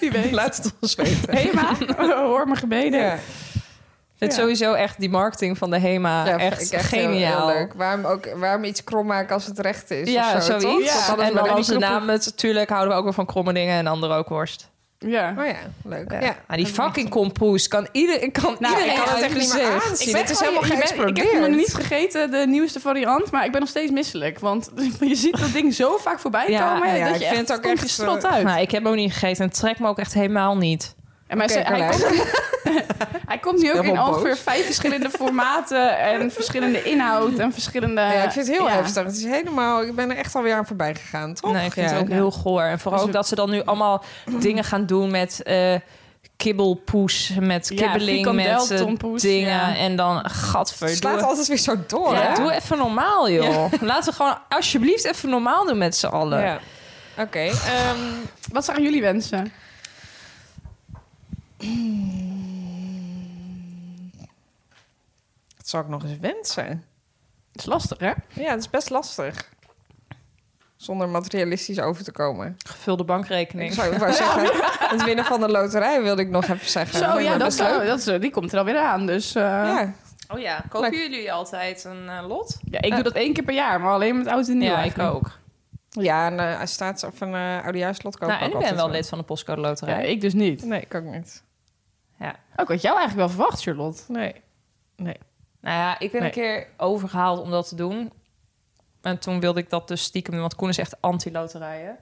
G: wie weet.
F: Laat het ons weten.
G: Hema, hoor mijn gebeden.
F: Ja.
E: Ik vind
G: Ja.
E: sowieso echt die marketing van de HEMA
F: Ja,
E: echt,
F: vind ik heel-
E: geniaal.
F: heel leuk. Waarom, ook, waarom iets krom maken als het recht is?
E: Ja,
F: of zo, toch?
E: zoiets.
F: Dat hadden ze
E: En dan
F: bij die
E: onze
F: knoppen.
E: naam, natuurlijk houden we ook weer van kromme dingen en anderen ook worst.
G: Ja.
F: Oh ja, leuk. Ja.
E: Ja. Maar die fucking kompoes kan iedereen kan
G: Nou,
E: iedereen
G: ik
E: kan
G: kan
E: het
F: het
E: echt
F: echt
E: niet
F: niet meer
E: meer
F: aanzien.
E: aanzien.
F: Ik ben- Het is helemaal
G: ik ben- Ik heb
F: geëxplodeerd.
G: nog niet gegeten, de nieuwste variant, maar ik ben nog steeds misselijk. Want je ziet dat ding zo vaak voorbij
E: Ja,
G: komen,
F: ja,
G: dat
F: ik
G: je
F: vind
G: echt,
F: het ook
G: komt je
F: echt,
G: strot
F: eh,
G: uit.
E: Nou, ik heb hem ook niet gegeten en het trekt me ook echt helemaal niet.
G: en maar ze-
F: Oké,
G: hij,
F: Carlijn.
G: komt, hij komt nu ook in
F: Helemaal boos.
G: ongeveer vijf verschillende formaten en verschillende inhoud en verschillende...
F: Ja, ik vind het heel
G: ja.
F: heftig. Het is helemaal, ik ben er echt alweer aan voorbij gegaan, toch?
E: Nee, ik vind
F: Ja.
E: het ook heel goor. En vooral
G: Dus
E: ook
G: we-
E: dat ze dan nu allemaal dingen gaan doen met eh, kibbelpoes, met
G: Ja,
E: kibbeling,
G: frikandel,
E: met eh,
G: tompoes,
E: dingen.
G: ja.
E: En dan, gadver,
F: Het
E: doe-
F: slaat altijd weer zo door,
E: Ja,
F: hè?
E: doe even normaal, joh. Laten we gewoon alsjeblieft even normaal doen met z'n allen.
F: Ja. Oké. ehm,
G: Wat zijn jullie wensen?
F: wat zou ik nog eens wensen?
G: Dat is lastig, hè?
F: Ja, het is best lastig. Zonder materialistisch over te komen.
E: Gevulde bankrekening.
F: Ik zou ik wou zeggen, het winnen van de loterij wilde ik nog even zeggen.
G: Zo,
F: Maar
G: ja, dat
F: best
G: is
F: leuk.
G: leuk. Dat is, eh, die komt er alweer aan, dus... eh, ja.
F: Ja,
E: Oh ja, kopen jullie altijd een eh, lot?
G: ik doe dat één keer per jaar, maar alleen met oud en nieuw.
E: Ja, ik
G: eigenlijk.
E: ook.
F: ja een eh, staats- of een eh oudejaarslot kopen.
E: Nou, en ik ben wel lid van de postcode
G: Ja,
E: loterij.
G: ik dus niet.
F: Nee, ik ook niet.
G: Ook had jou eigenlijk wel verwacht, Charlotte.
F: Nee.
E: Nou ja, ik ben
F: Nee.
E: een keer overgehaald om dat te doen. En toen wilde ik dat dus stiekem doen, want Koen is echt anti-loterijen.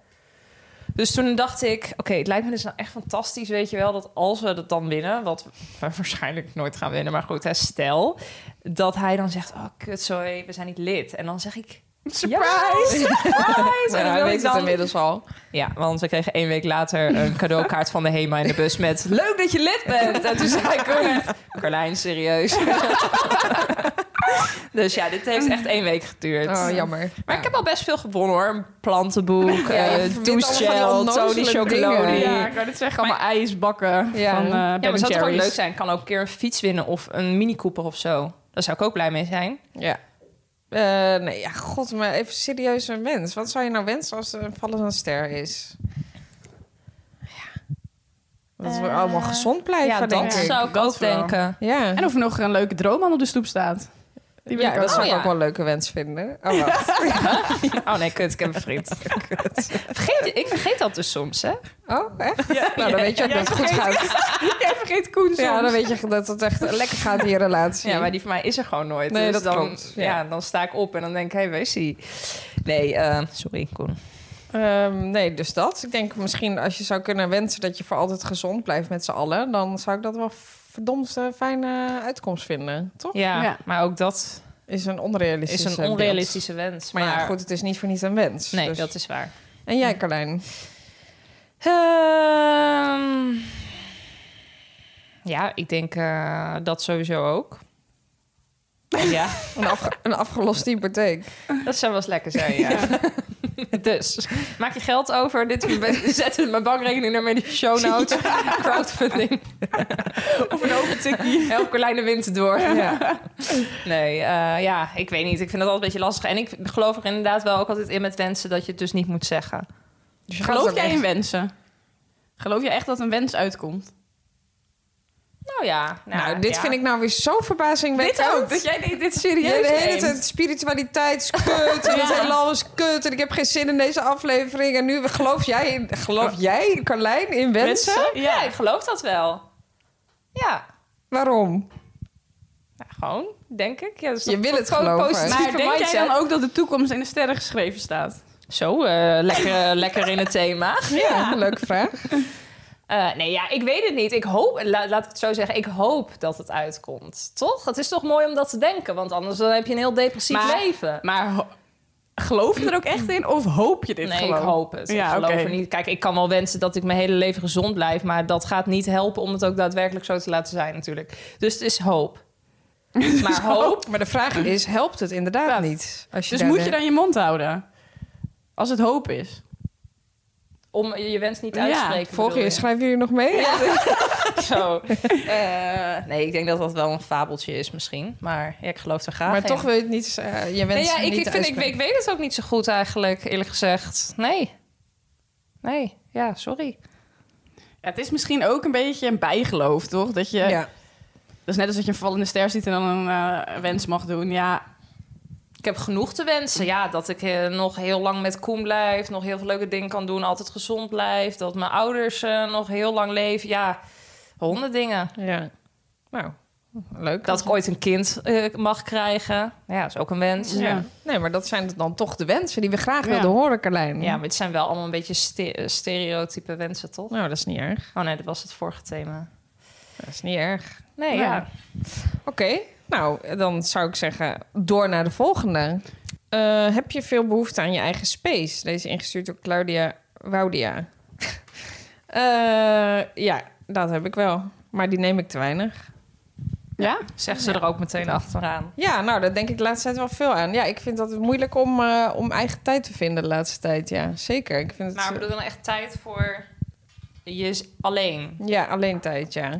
E: Dus toen dacht ik, oké, het lijkt me dus nou echt fantastisch, weet je wel, dat als we dat dan winnen, wat we waarschijnlijk nooit gaan winnen, maar goed, hè, stel, dat hij dan zegt, oh kut, sorry, we zijn niet lid. En dan zeg ik, surprise, surprise.
F: Ja,
E: En dan
F: hij
E: wil ik
F: weet het
E: dan
F: inmiddels al.
E: Ja, want we kregen één week later een cadeaukaart van de HEMA in de bus met... Leuk dat je lid bent! En toen zei ik ook echt, Carlijn, serieus? dus ja, dit heeft echt één week geduurd.
F: Oh, jammer.
E: eh, Maar ik heb al best veel gewonnen hoor. Een plantenboek, eh
F: je wint allemaal
E: douchegel,
F: van die onnozele
E: Tony
F: dingen.
E: Chocolonely.
F: Ja.
E: Ja,
G: ik wou dit zeggen. Allemaal ijsbakken
F: Ja.
G: van eh
F: Ja,
E: maar het
G: Ben
E: zou toch ook
G: Jerry's.
E: leuk zijn. Kan ook een keer een fiets winnen of een Mini Cooper of zo. Daar zou ik ook blij mee zijn.
F: Ja. Eh, nee, ja, god, maar even serieus een wens. Wat zou je nou wensen als er een vallende ster is? Ja. Dat we allemaal gezond blijven,
E: ja,
F: denk
E: dat
F: ik.
E: zou ik
G: Eh, Dat
E: ook
G: wel.
E: denken.
F: Ja,
G: En of er nog een leuke droomman op de stoep staat. Die wil
F: ja
G: ik
F: dat
G: ook.
F: zou
E: Oh,
F: ik
E: ja.
F: ook wel een leuke wens vinden. Oh, wacht.
E: Oh nee, kut, ik heb een vriend. Vergeet, ik vergeet dat dus soms, hè?
F: Oh, echt? Nou, dan weet je ook dat het goed gaat.
G: Jij vergeet Koen soms.
F: Ja, dan weet je dat het echt lekker gaat in je relatie.
E: Ja, maar die van mij is er gewoon nooit.
F: Nee,
E: dus
F: dat
E: dan,
F: klopt.
E: Ja.
F: Ja.
E: dan sta ik op en dan denk ik, hé, hey, wees hij. Nee, eh, sorry, Koen.
F: Ehm, nee, dus dat. Ik denk misschien als je zou kunnen wensen dat je voor altijd gezond blijft met z'n allen... dan zou ik dat wel verdomd eh, fijne uitkomst vinden, toch?
E: Ja,
G: Ja.
E: maar ook dat
F: Is een onrealistisch eh,
E: is een
F: beeld.
E: onrealistische wens.
F: Maar,
E: Maar,
F: ja, goed, het is niet voor niets een wens.
E: Nee,
F: Dus-
E: dat is waar.
F: En jij, Carlijn?
E: Ehm, ja, ik denk eh, dat sowieso ook. Ja,
F: Een, afge- een afgeloste hypotheek.
E: dat zou wel eens lekker zijn, ja. Dus, maak je geld over. Dit zet in mijn bankrekening naar mijn show notes. Crowdfunding.
G: Of een open tikkie.
E: Help Carlijn de wind door.
F: Ja.
E: Nee, eh, ja, ik weet niet. Ik vind dat altijd een beetje lastig. En ik geloof er inderdaad wel ook altijd in met wensen dat je het dus niet moet zeggen.
F: Dus je gaat het
G: Geloof
F: ook
G: jij
F: echt-
G: in wensen? Geloof jij echt dat een wens uitkomt?
E: Nou ja.
F: Nou, dit vind ik nou weer zo verbazingwekkend.
E: Dit ook, dat jij dit, dit serieus
F: Jij de hele
E: neemt.
F: tijd spiritualiteit is kut en het heelal is kut en ik heb geen zin in deze aflevering. En nu geloof jij, in- geloof jij Carlijn, in wensen?
E: Ja. ik geloof dat wel. Ja,
F: Waarom?
E: nou, gewoon, denk ik. Ja, dat is
F: Je
E: toch
F: wil het
E: gewoon
F: geloven.
E: positieve
G: Maar denk jij
E: mindset.
G: dan ook dat de toekomst in de sterren geschreven staat?
E: Zo, eh, lekker, lekker in het thema.
F: Ja, leuke vraag.
E: Eh, nee, ja, ik weet het niet. Ik hoop, la- laat ik het zo zeggen, ik hoop dat het uitkomt. Toch? Het is toch mooi om dat te denken, want anders dan heb je een heel depressief
G: Maar-
E: leven.
G: Maar ho- geloof je er ook echt in of hoop je dit
E: Nee,
G: gewoon?
E: ik hoop het.
G: Ja,
E: ik geloof
G: oké.
E: er niet. Kijk, ik kan wel wensen dat ik mijn hele leven gezond blijf, maar dat gaat niet helpen om het ook daadwerkelijk zo te laten zijn natuurlijk. Dus het is hoop. Maar hoop,
F: Maar de vraag is, helpt het inderdaad
G: Ja.
F: niet? Als
G: Dus
F: daar
G: moet je
F: de-
G: dan je mond houden? Als het hoop is.
E: om je wens niet
G: Ja,
E: uit te spreken.
F: Volg
E: bedoel
F: je, schrijven jullie nog mee?
E: Zo. Eh, nee, ik denk dat dat wel een fabeltje is misschien. Maar ja, ik geloof er graag
F: maar
E: in.
F: toch wil je het niet, eh, je
E: Nee,
F: wensen
E: ja, ik,
F: niet
E: ik, vind, ik,
F: uitspreken.
E: weet- ik weet het ook niet zo goed eigenlijk, eerlijk gezegd. Nee. Nee, ja, sorry.
G: Ja, het is misschien ook een beetje een bijgeloof, toch? Dat je,
F: Ja.
G: Dat is net als dat je een vallende ster ziet en dan een eh, wens mag doen. Ja,
E: Ik heb genoeg te wensen. Ja, dat ik eh, nog heel lang met Koen blijf. Nog heel veel leuke dingen kan doen. Altijd gezond blijf. Dat mijn ouders eh, nog heel lang leven. Ja, honderd dingen.
F: Ja. Nou, leuk.
E: Dat ik ooit een kind eh, mag krijgen. Ja, is ook een wens.
F: ja. Nee, maar dat zijn dan toch de wensen die we graag
G: Ja.
F: wilden horen, Carlijn.
E: Ja, maar het zijn wel allemaal een beetje ste- eh, stereotype wensen, toch?
F: Nou, dat is niet erg.
E: Oh nee, dat was het vorige thema.
F: Dat is niet erg.
E: Nee,
F: Nou,
E: ja.
F: Oké, nou, dan zou ik zeggen, door naar de volgende. Eh, heb je veel behoefte aan je eigen space? Deze is ingestuurd door Claudia Woudia. Eh, ja, dat heb ik wel. Maar die neem ik te weinig.
G: ja?
E: Zegt ze er ook meteen achteraan.
F: Ja, nou, daar denk ik de laatste tijd wel veel aan. Ja, ik vind dat het moeilijk om, eh, om eigen tijd te vinden de laatste tijd. Ja, zeker. Ik vind het, eh,
E: Maar bedoel dan echt tijd voor je is alleen.
F: Ja, alleen tijd, ja.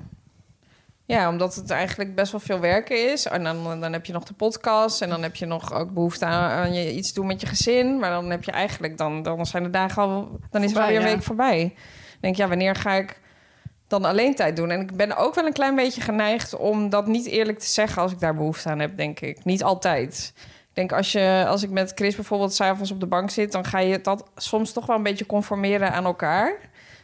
F: Ja, omdat het eigenlijk best wel veel werken is. En dan, dan heb je nog de podcast. En dan heb je nog ook behoefte aan, aan je iets doen met je gezin. Maar dan heb je eigenlijk, dan, dan zijn de dagen al. Dan is het
G: Voorbij,
F: alweer een
G: ja.
F: week voorbij. Dan denk ik, ja, wanneer ga ik dan alleen tijd doen? En ik ben ook wel een klein beetje geneigd om dat niet eerlijk te zeggen als ik daar behoefte aan heb, denk ik. Niet altijd. Ik denk, als, je, als ik met Chris bijvoorbeeld s'avonds op de bank zit, dan ga je dat soms toch wel een beetje conformeren aan elkaar.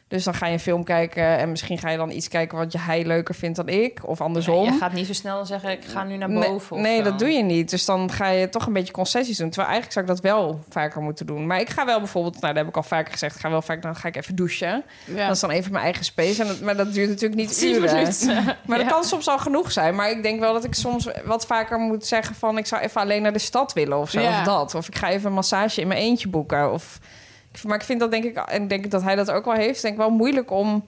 F: Dus dan ga je een film kijken en misschien ga je dan iets kijken wat je hij leuker vindt dan ik. Of andersom.
E: Je gaat niet zo snel zeggen, ik ga nu naar boven.
F: Nee, nee, dat doe je niet. Dus dan ga je toch een beetje concessies doen. Terwijl eigenlijk zou ik dat wel vaker moeten doen. Maar ik ga wel bijvoorbeeld, nou, dat heb ik al vaker gezegd, ik ga wel vaak, dan ga ik even douchen.
G: ja.
F: Dat is dan even mijn eigen space. En dat, maar dat duurt natuurlijk niet
G: Tien
F: uren.
G: minuten.
F: Maar dat kan soms al genoeg zijn. Maar ik denk wel dat ik soms wat vaker moet zeggen van... ik zou even alleen naar de stad willen of zo.
G: Ja.
F: Of dat. Of ik ga even een massage in mijn eentje boeken. Of, ik- maar ik vind dat denk ik... en ik denk dat hij dat ook wel heeft... denk ik wel moeilijk om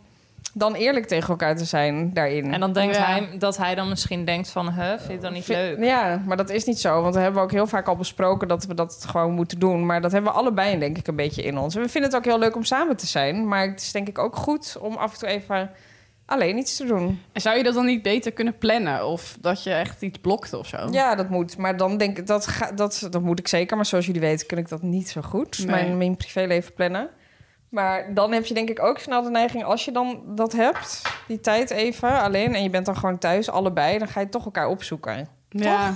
F: dan eerlijk tegen elkaar te zijn daarin.
E: En dan denkt
G: Ja.
E: hij dat hij dan misschien denkt van, huh, vind je het dan niet leuk?
F: Ja, maar dat is niet zo. Want we hebben ook heel vaak al besproken dat we dat gewoon moeten doen. Maar dat hebben we allebei denk ik een beetje in ons. En we vinden het ook heel leuk om samen te zijn. Maar het is denk ik ook goed om af en toe even alleen iets te doen.
G: En zou je dat dan niet beter kunnen plannen? Of dat je echt iets blokt of zo?
F: Ja, dat moet. Maar dan denk ik, dat, ga, dat, dat moet ik zeker. Maar zoals jullie weten, kan ik dat niet zo goed.
G: Nee.
F: Mijn, mijn privéleven plannen. Maar dan heb je denk ik ook snel de neiging, als je dan dat hebt, die tijd even alleen. En je bent dan gewoon thuis, allebei. Dan ga je toch elkaar opzoeken.
G: Ja.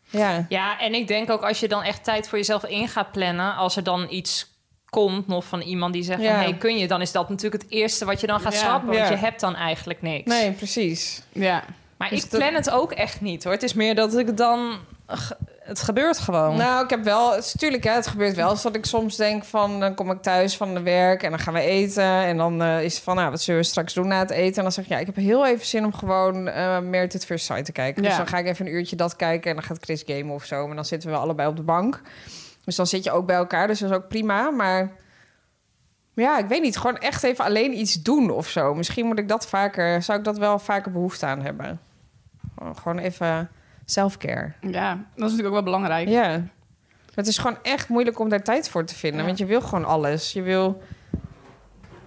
F: Ja.
E: Ja, en ik denk ook als je dan echt tijd voor jezelf in gaat plannen, als er dan iets komt nog van iemand die zegt,
F: Ja.
E: van, hey, kun je? Dan is dat natuurlijk het eerste wat je dan gaat
G: Ja.
E: schrappen, want
F: Ja.
E: je hebt dan eigenlijk niks.
F: Nee, precies.
G: ja.
E: Maar
F: Dus
E: ik
F: dat-
E: plan het ook echt niet, hoor. Het is meer dat ik dan... ge- Het gebeurt gewoon.
F: Nou, ik heb wel, het is natuurlijk, hè, het gebeurt wel eens dat ik soms denk van, dan kom ik thuis van de werk en dan gaan we eten en dan eh, is het van, nou, wat zullen we straks doen na het eten? En dan zeg ik, ja, ik heb heel even zin om gewoon eh Merit at First Sight te kijken. Dus
G: Ja.
F: dan ga ik even een uurtje dat kijken en dan gaat Chris gamen of zo. Maar dan zitten we allebei op de bank. Dus dan zit je ook bij elkaar, dus dat is ook prima. Maar ja, ik weet niet, gewoon echt even alleen iets doen of zo. Misschien moet ik dat vaker, zou ik dat wel vaker behoefte aan hebben. Gewoon even self-care.
G: Ja, dat is natuurlijk ook wel belangrijk.
F: Ja. Maar het is gewoon echt moeilijk om daar tijd voor te vinden. Want je wil gewoon alles. Je wil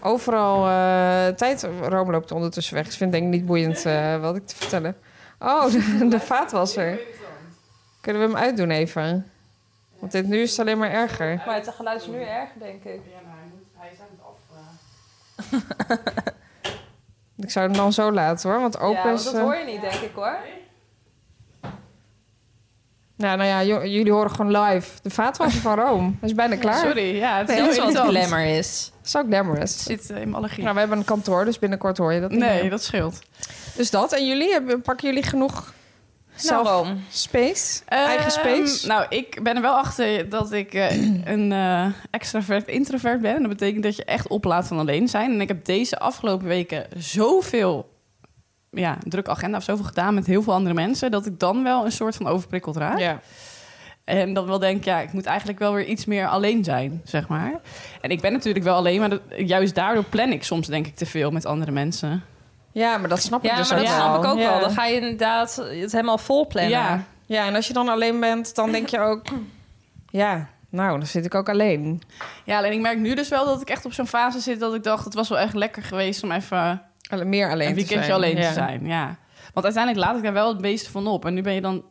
F: overal eh, tijd... Rome loopt ondertussen weg. Dus ik vind het denk ik niet boeiend eh, wat ik te vertellen. Oh, de, de vaatwasser. Kunnen we hem uitdoen even? Want dit nu is het alleen maar erger.
E: Maar het geluid is nu erger, denk ik.
F: Ik zou hem dan zo laten hoor. Want open
E: ja,
F: is...
E: dat
F: eh,
E: hoor je niet, denk ik, hoor.
F: nou, nou ja, jo- jullie horen gewoon live. De vaatwasser van Rome. Dat is bijna klaar.
G: Sorry, ja, het is
E: Dat
G: heel
E: is wat
G: irritant.
E: glamour is.
F: Dat is ook
G: Het
F: glamorous.
G: zit eh, in mijn allergie.
F: Nou, we hebben een kantoor, dus binnenkort hoor je dat niet
G: nee,
F: meer.
G: dat scheelt.
F: Dus dat. En jullie? Hebben- Pakken jullie genoeg
E: Nou,
F: Zelf
E: Rome.
F: space? Eigen space?
G: Ehm, nou, ik ben er wel achter dat ik eh, een eh, extravert introvert ben. Dat betekent dat je echt oplaat van alleen zijn. En ik heb deze afgelopen weken zoveel ja, drukke agenda of zoveel gedaan met heel veel andere mensen... dat ik dan wel een soort van overprikkeld raak.
E: nou.
F: ja.
G: En dan wel denk, ja, ik moet eigenlijk wel weer iets meer alleen zijn, zeg maar. En ik ben natuurlijk wel alleen, maar dat- juist daardoor plan ik soms denk ik te veel met andere mensen.
F: ja, maar dat snap ik
E: Ja,
F: dus
E: maar dat
F: ook wel.
E: snap ik ook
F: Ja.
E: wel. Dan ga je inderdaad het helemaal vol plannen.
G: Ja.
F: Ja, en als je dan alleen bent, dan denk je ook... Ja, nou, dan zit ik ook alleen.
G: Ja, alleen ik merk nu dus wel dat ik echt op zo'n fase zit dat ik dacht, het was wel echt lekker geweest om even
F: Alle- Meer alleen
G: een
F: te zijn.
G: weekendje alleen
F: Ja.
G: te zijn. Ja. Want uiteindelijk laat ik daar wel het meeste van op. En nu ben je dan,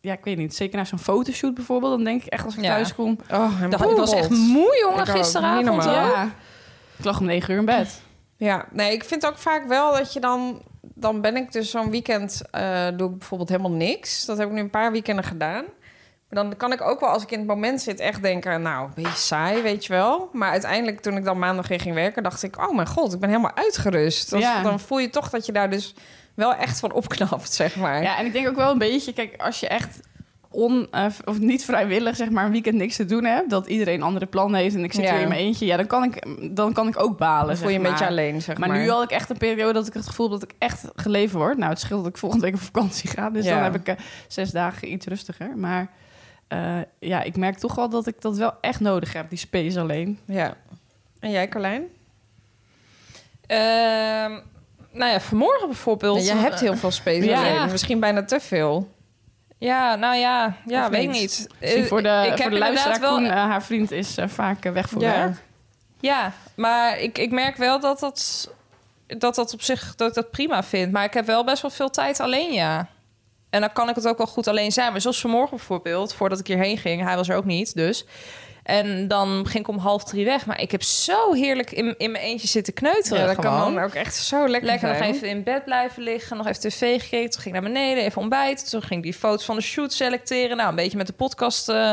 G: ja, ik weet niet, zeker naar zo'n fotoshoot bijvoorbeeld, dan denk ik echt als ik
E: Ja.
G: thuis kom. "Ah,
F: Oh, en
E: Ik dacht, ik was echt
F: boebelt.
E: moe,
F: Ik
E: jongen,
F: ook. Niet
E: gisteravond.
F: normaal.
E: hoor.
G: Ja. Ik lag om negen uur in bed.
F: Ja, nee, ik vind ook vaak wel dat je dan... Dan ben ik dus zo'n weekend... eh, doe ik bijvoorbeeld helemaal niks. Dat heb ik nu een paar weekenden gedaan. Maar dan kan ik ook wel, als ik in het moment zit, echt denken... Nou, een beetje saai, weet je wel. Maar uiteindelijk, toen ik dan maandag weer ging werken... dacht ik, oh mijn god, ik ben helemaal uitgerust. Dat-
G: Ja.
F: Dan voel je toch dat je daar dus wel echt van opknapt, zeg maar.
G: Ja, en ik denk ook wel een beetje, kijk, als je echt on, eh, of niet vrijwillig zeg maar een weekend niks te doen hebt, dat iedereen andere plannen heeft en ik zit
F: Ja.
G: weer in mijn eentje, ja, dan kan ik, dan kan ik ook balen.
F: dan voel je
G: zeg
F: een beetje
G: maar.
F: alleen, zeg maar.
G: Maar nu had ik echt een periode dat ik het gevoel heb dat ik echt geleven word. Nou, het scheelt dat ik volgende week op vakantie ga. Dus
F: Ja.
G: dan heb ik eh, zes dagen iets rustiger. Maar eh, ja, ik merk toch wel dat ik dat wel echt nodig heb, die space alleen.
F: Ja. En jij, Carlijn?
E: Ehm, nou ja, vanmorgen bijvoorbeeld.
F: jij hebt heel veel space
G: Ja.
F: alleen. Misschien bijna te veel.
E: Ja, nou ja, ja
F: Of
E: weet ik
F: niet?
E: niet.
G: Misschien
E: Eh,
G: voor de,
E: ik
G: voor
E: heb
G: de luisteraar,
E: inderdaad wel.
G: Koen, eh, haar vriend is eh, vaak eh, weg voor werk.
E: Ja, maar ik, ik merk wel dat dat, dat dat op zich dat ik dat prima vind. Maar ik heb wel best wel veel tijd alleen, ja. En dan kan ik het ook wel goed alleen zijn. Maar zoals vanmorgen bijvoorbeeld, voordat ik hierheen ging, hij was er ook niet, dus. En dan ging ik om half drie weg. Maar ik heb zo heerlijk in, in mijn eentje zitten kneuteren.
F: Ja, dat
E: gewoon.
F: kan dan ook echt zo lekker
E: Lekker nog
F: zijn.
E: even in bed blijven liggen, nog even tv gekeken. Toen ging ik naar beneden, even ontbijten. Toen ging ik die foto's van de shoot selecteren. Nou, een beetje met de podcast eh,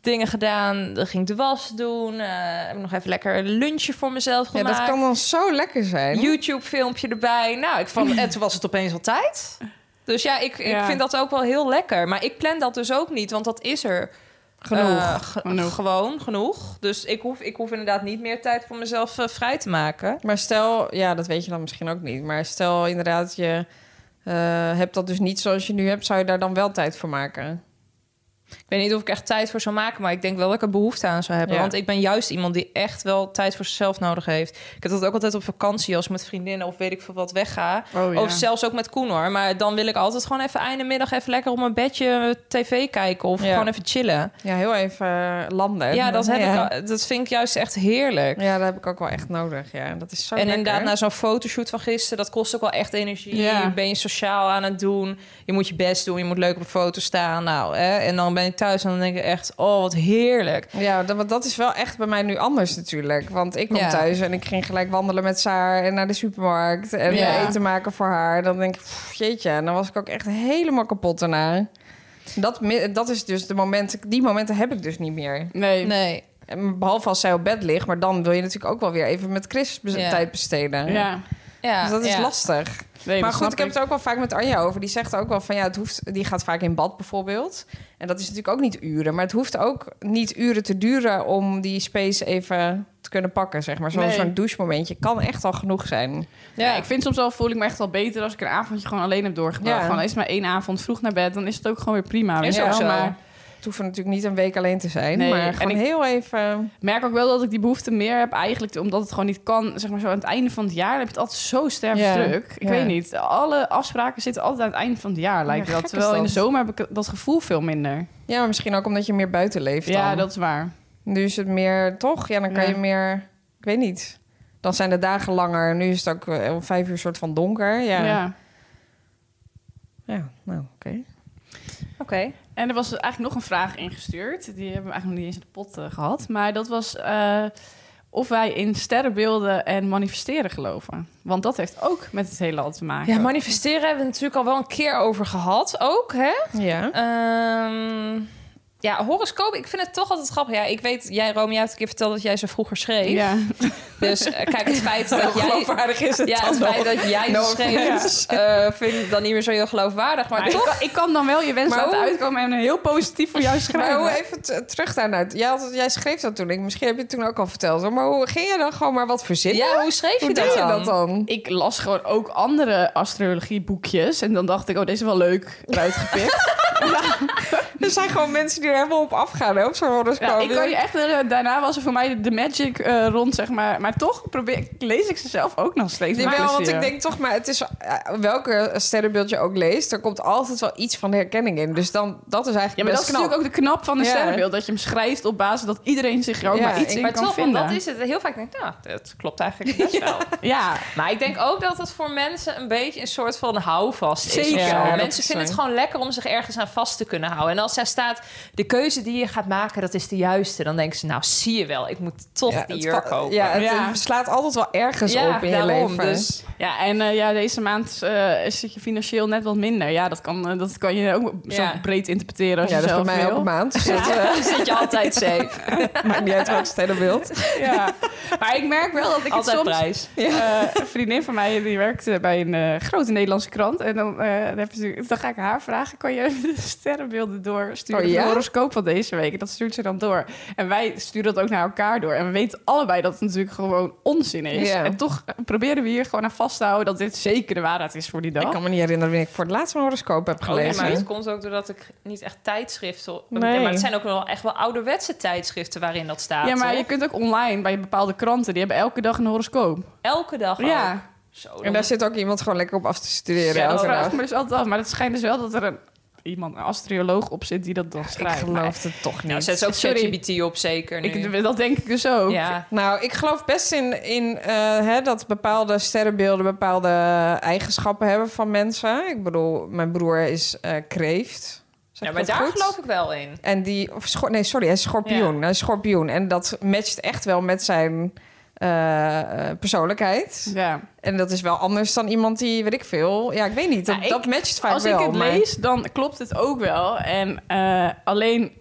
E: dingen gedaan. Dan ging ik de was doen. eh, heb ik nog even lekker een lunchje voor mezelf
F: Ja,
E: gemaakt.
F: dat kan dan zo lekker zijn.
E: YouTube-filmpje erbij. Nou, ik vond, en toen was het opeens al tijd. Dus ja, ik, ik
G: Ja.
E: vind dat ook wel heel lekker. Maar ik plan dat dus ook niet, want dat is er.
G: Genoeg.
E: eh, ge-
G: Genoeg.
E: Gewoon, genoeg. Dus ik hoef, ik hoef inderdaad niet meer tijd voor mezelf eh, vrij te maken.
F: Maar stel, ja, dat weet je dan misschien ook niet. Maar stel inderdaad, je eh, hebt dat dus niet zoals je nu hebt, zou je daar dan wel tijd voor maken?
E: Ik weet niet of ik echt tijd voor zou maken, maar ik denk wel dat ik er behoefte aan zou hebben.
F: Ja.
E: Want ik ben juist iemand die echt wel tijd voor zichzelf nodig heeft. Ik heb dat ook altijd op vakantie als ik met vriendinnen of weet ik veel wat wegga.
G: Oh, ja.
E: Of zelfs ook met Koen hoor. Maar dan wil ik altijd gewoon even einde middag even lekker op mijn bedje eh, tv kijken of
F: Ja.
E: gewoon even chillen.
F: Ja, heel even eh, landen.
E: ja, dat, heb
F: ja.
E: Ik, al- dat vind ik juist echt heerlijk.
F: Ja, dat heb ik ook wel echt nodig. Ja, dat is zo
E: En
F: lekker.
E: inderdaad, na zo'n fotoshoot van gisteren, dat kost ook wel echt energie.
G: Ja.
E: Ben je sociaal aan het doen. Je moet je best doen. Je moet leuk op een foto staan. Nou, hè. En dan ben ik thuis en dan denk ik echt, oh, wat heerlijk.
F: Ja, dat, want dat is wel echt bij mij nu anders natuurlijk. Want ik kom
E: Ja.
F: thuis en ik ging gelijk wandelen met Saar en naar de supermarkt en
G: Ja.
F: eh, eten maken voor haar. Dan denk ik, pff, jeetje, en dan was ik ook echt helemaal kapot daarna. Dat, mi- dat is dus de momenten, die momenten heb ik dus niet meer.
G: Nee.
E: Nee.
F: En Behalve als zij op bed ligt, maar dan wil je natuurlijk ook wel weer even met Chris bez-
E: Ja.
F: tijd besteden.
G: Ja.
E: Ja,
F: Dus dat is
E: ja.
F: lastig.
G: Nee,
F: maar
G: dat snap
F: goed, ik heb het ook wel vaak met Anja over. Die zegt ook wel van ja, het hoeft, die gaat vaak in bad bijvoorbeeld. En dat is natuurlijk ook niet uren. Maar het hoeft ook niet uren te duren om die space even te kunnen pakken, zeg maar. Zo'n
G: Nee.
F: zo'n douchemomentje kan echt al genoeg zijn.
G: Ja, ik vind soms wel, voel ik me echt wel beter als ik een avondje gewoon alleen heb doorgebracht.
F: Ja.
G: Gewoon is het maar één avond vroeg naar bed, dan is het ook gewoon weer prima. weet
E: Is
G: je
E: ook
G: wel.
E: zo.
G: Maar
F: Het hoeft natuurlijk niet een week alleen te zijn,
G: Nee,
F: maar
G: en
F: gewoon
G: ik-
F: heel even...
G: ik merk ook wel dat ik die behoefte meer heb eigenlijk, omdat het gewoon niet kan. Zeg maar zo aan het einde van het jaar heb je het altijd zo sterk
F: Ja.
G: druk. Ik
F: Ja.
G: weet niet, alle afspraken zitten altijd aan het einde van het jaar, lijkt
F: Ja,
G: dat.
F: gek is
G: Terwijl in de
F: dat.
G: zomer heb ik dat gevoel veel minder.
F: Ja, maar misschien ook omdat je meer buiten leeft
G: Ja,
F: dan.
G: dat is waar.
F: Nu is het meer toch? Ja, dan kan
G: Ja.
F: je meer. Ik weet niet. Dan zijn de dagen langer. Nu is het ook eh, om vijf uur soort van donker. Ja,
G: Ja.
F: ja. nou oké.
E: Oké.
G: En er was eigenlijk nog een vraag ingestuurd. Die hebben we eigenlijk nog niet eens in de pot eh, gehad. Maar dat was eh, of wij in sterrenbeelden en manifesteren geloven. Want dat heeft ook met het hele al te maken.
E: Ja, manifesteren hebben we natuurlijk al wel een keer over gehad ook, hè?
F: Ja.
E: Ehm, Ja, horoscoop, ik vind het toch altijd grappig. Ja, ik weet, jij Rome, jij hebt een keer verteld dat jij ze vroeger schreef.
G: Ja.
E: Dus eh, kijk, het feit dat jij...
F: geloofwaardig is het
E: ja,
F: dan
E: het
F: wel?
E: feit dat jij
F: No
E: ze schreef, eh, vind ik dan niet meer zo heel geloofwaardig. Maar,
G: Maar ik,
E: toch...
G: kan, ik kan dan wel je wens
E: Maar
G: laten
E: hoe-
G: uitkomen en heel positief voor jou
F: Maar
G: schrijven.
F: hoe even t- terug daarnaar. Jij, had, jij schreef dat toen. Ik, misschien heb je het toen ook al verteld. hoor. Maar hoe ging je dan gewoon maar wat verzinnen?
E: Ja, hoe schreef je
F: Hoe
E: dat
F: deed je
E: dan?
F: dat dan?
G: Ik las gewoon ook andere astrologieboekjes. En dan dacht ik, oh, deze is wel leuk eruit gepikt.
F: Er zijn gewoon mensen die er helemaal op afgaan. Hè, op zo'n horoscoop.
G: ja, ik kan je echt, eh, daarna was er voor mij de magic eh, rond, zeg maar. Maar toch probeer, ik- lees ik ze zelf ook nog steeds.
F: Die
G: met
F: wel, want
G: plezier.
F: ik denk toch, maar het is eh, welke sterrenbeeld je ook leest, er komt altijd wel iets van herkenning in. Dus dan, dat is eigenlijk
G: Ja, maar dat
F: best
G: is natuurlijk
F: knap.
G: ook de knap van een
F: Ja.
G: sterrenbeeld. Dat je hem schrijft op basis dat iedereen zich er ook
F: Ja,
G: maar iets
F: ik-
G: in
E: Maar
G: kan
E: toch, want
G: vinden.
E: dat is het. Heel vaak denk ik, nou, dat klopt eigenlijk best wel.
G: Ja,
E: Maar ik denk ook dat het voor mensen een beetje een soort van houvast is. of
F: Zeker.
E: zo.
F: Ja, dat
E: mensen
F: is
E: vinden het
F: waar.
E: gewoon lekker om zich ergens aan vast te kunnen houden. En als daar staat, de keuze die je gaat maken, dat is de juiste. Dan denken ze, nou zie je wel, ik moet toch
F: Ja,
E: die
F: het
E: jurk
F: va-
E: kopen.
F: Ja, het
G: Ja.
F: eh, slaat altijd wel ergens
E: Ja,
F: op in je
E: daarom,
F: leven.
E: dus-
G: ja en eh, ja, deze maand eh, zit je financieel net wat minder. Ja, dat kan, eh, dat kan je ook
E: Ja.
G: zo breed interpreteren als
F: ja,
G: je
F: dat is bij
G: zelf
F: mij
G: wil.
F: elke maand. Dus dat eh,
E: Dan zit je altijd safe.
F: maakt niet uit welk sterrenbeeld.
G: Ja. Maar ik merk wel dat ik
E: altijd
G: het soms...
E: prijs.
G: Eh, een vriendin van mij die werkte bij een eh, grote Nederlandse krant. En dan, eh, dan, heb je, dan ga ik haar vragen: kan je even de sterrenbeelden doorsturen?
F: Oh, ja?
G: De horoscoop van deze week. En dat stuurt ze dan door. En wij sturen dat ook naar elkaar door. En we weten allebei dat het natuurlijk gewoon onzin is.
F: Ja.
G: En toch proberen we hier gewoon aan vast te houden dat dit zeker de waarheid is voor die dag.
F: Ik kan me niet herinneren wanneer ik voor het laatst een horoscoop heb gelezen.
E: Oh, maar het komt ook doordat ik niet echt tijdschriften...
F: Nee.
E: Maar het zijn ook wel echt wel ouderwetse tijdschriften waarin dat staat.
G: ja, maar
E: toch?
G: je kunt ook online bij bepaalde kranten. Die hebben elke dag een horoscoop.
E: Elke dag ook.
G: Ja.
E: Zo,
F: en
E: dan-
F: daar zit ook iemand gewoon lekker op af te studeren.
E: Ja,
G: Dat
F: elke
G: vraag
F: dag.
G: ik me dus altijd af. Maar het schijnt dus wel dat er een, iemand, een astroloog op zit die dat dan
F: Ik
G: schrijft. Maar
F: geloof het toch niet.
E: nou, zet ze ook
G: Sorry.
E: ChatGPT op, zeker nu.
G: ik, dat denk ik dus ook.
E: ja.
F: Nou, ik geloof best in, in eh, hè, dat bepaalde sterrenbeelden bepaalde eigenschappen hebben van mensen. Ik bedoel, mijn broer is eh kreeft. Zeg
E: ja, maar
F: ik dat
E: daar
F: goed?
E: geloof ik wel in.
F: En die, of schor- nee, sorry, hij is schorpioen.
E: Ja.
F: Hij is schorpioen. En dat matcht echt wel met zijn eh, eh, persoonlijkheid.
G: Ja.
F: En dat is wel anders dan iemand die, weet ik veel. Ja, ik weet niet. Dat,
G: Nou, ik-
F: dat matcht vaak
G: Als
F: wel.
G: ik het
F: maar-
G: lees, dan klopt het ook wel. En eh, alleen,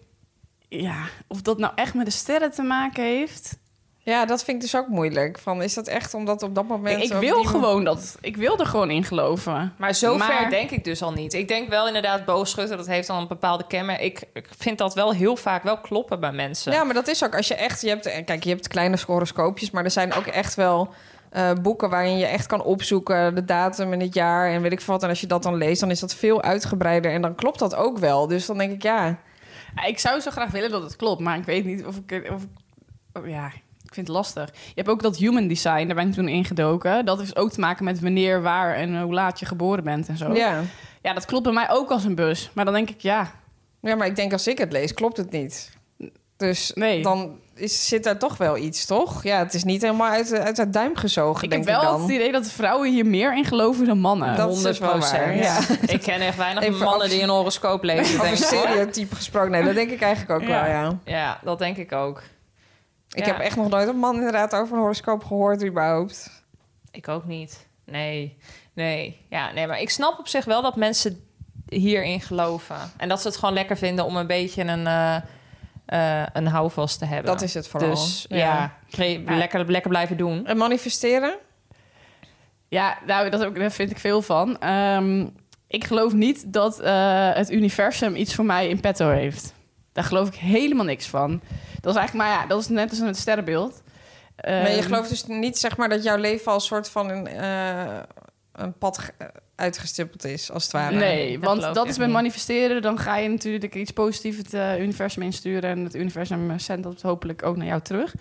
G: ja, of dat nou echt met de sterren te maken heeft.
F: Ja, dat vind ik dus ook moeilijk. Van, is dat echt omdat op dat moment...
G: ik
F: op
G: wil
F: die-
G: gewoon dat. Ik wil er gewoon in geloven.
E: Maar zover
G: Maar-
E: denk ik dus al niet. Ik denk wel inderdaad, boogschutter, dat heeft dan een bepaalde kenmerk. Ik, ik vind dat wel heel vaak wel kloppen bij mensen.
F: Ja, maar dat is ook als je echt... Je hebt, eh, kijk, je hebt kleine horoscoopjes, maar er zijn ook echt wel... eh, boeken waarin je echt kan opzoeken de datum en het jaar en weet ik veel wat. En als je dat dan leest, dan is dat veel uitgebreider en dan klopt dat ook wel. Dus dan denk ik, ja,
G: Ik zou zo graag willen dat het klopt, maar ik weet niet of ik... Of, ik- oh, ja, ik vind het lastig. Je hebt ook dat human design, daar ben ik toen ingedoken. Dat heeft ook te maken met wanneer, waar en hoe laat je geboren bent en zo.
F: ja.
G: ja, dat klopt bij mij ook als een bus. Maar dan denk ik, ja,
F: Ja, maar ik denk als ik het lees, klopt het niet. Dus
G: Nee.
F: dan is, zit daar toch wel iets, toch? Ja, het is niet helemaal uit, uit het duim gezogen,
G: Ik heb
F: denk
G: wel
F: ik
G: het
F: dan.
G: idee dat vrouwen hier meer in geloven dan mannen.
F: Dat is dus wel waar.
E: 100%.
F: Ja.
E: Ik ken echt weinig
F: Even
E: mannen
F: af-
E: die een horoscoop lezen.
F: Over
E: Denk ik. hoor.
F: stereotype gesproken. Nee, dat denk ik eigenlijk ook
G: Ja.
F: wel, ja.
E: Ja, dat denk ik ook.
F: Ik
E: Ja.
F: heb echt nog nooit een man inderdaad over een horoscoop gehoord, überhaupt.
E: Ik ook niet. Nee, nee. Ja, nee, maar ik snap op zich wel dat mensen hierin geloven. En dat ze het gewoon lekker vinden om een beetje een, eh, eh, een houvast te hebben.
F: Dat is het vooral.
E: Dus ja, cre- lekker, lekker blijven doen.
F: En manifesteren?
G: Ja, nou, dat ook, daar vind ik veel van. Ehm, ik geloof niet dat eh, het universum iets voor mij in petto heeft. Daar geloof ik helemaal niks van. Dat is eigenlijk, maar ja, dat is net als een sterrenbeeld.
F: maar je
G: Ehm,
F: gelooft dus niet, zeg maar, dat jouw leven als soort van een, eh, een pad ge- uitgestippeld is, als het ware.
G: Nee,
E: dat
G: want
E: geloof
G: dat,
E: ik echt
G: is met
E: niet.
G: manifesteren. Dan ga je natuurlijk iets positiefs het eh, universum insturen. En het universum eh, zendt dat hopelijk ook naar jou terug.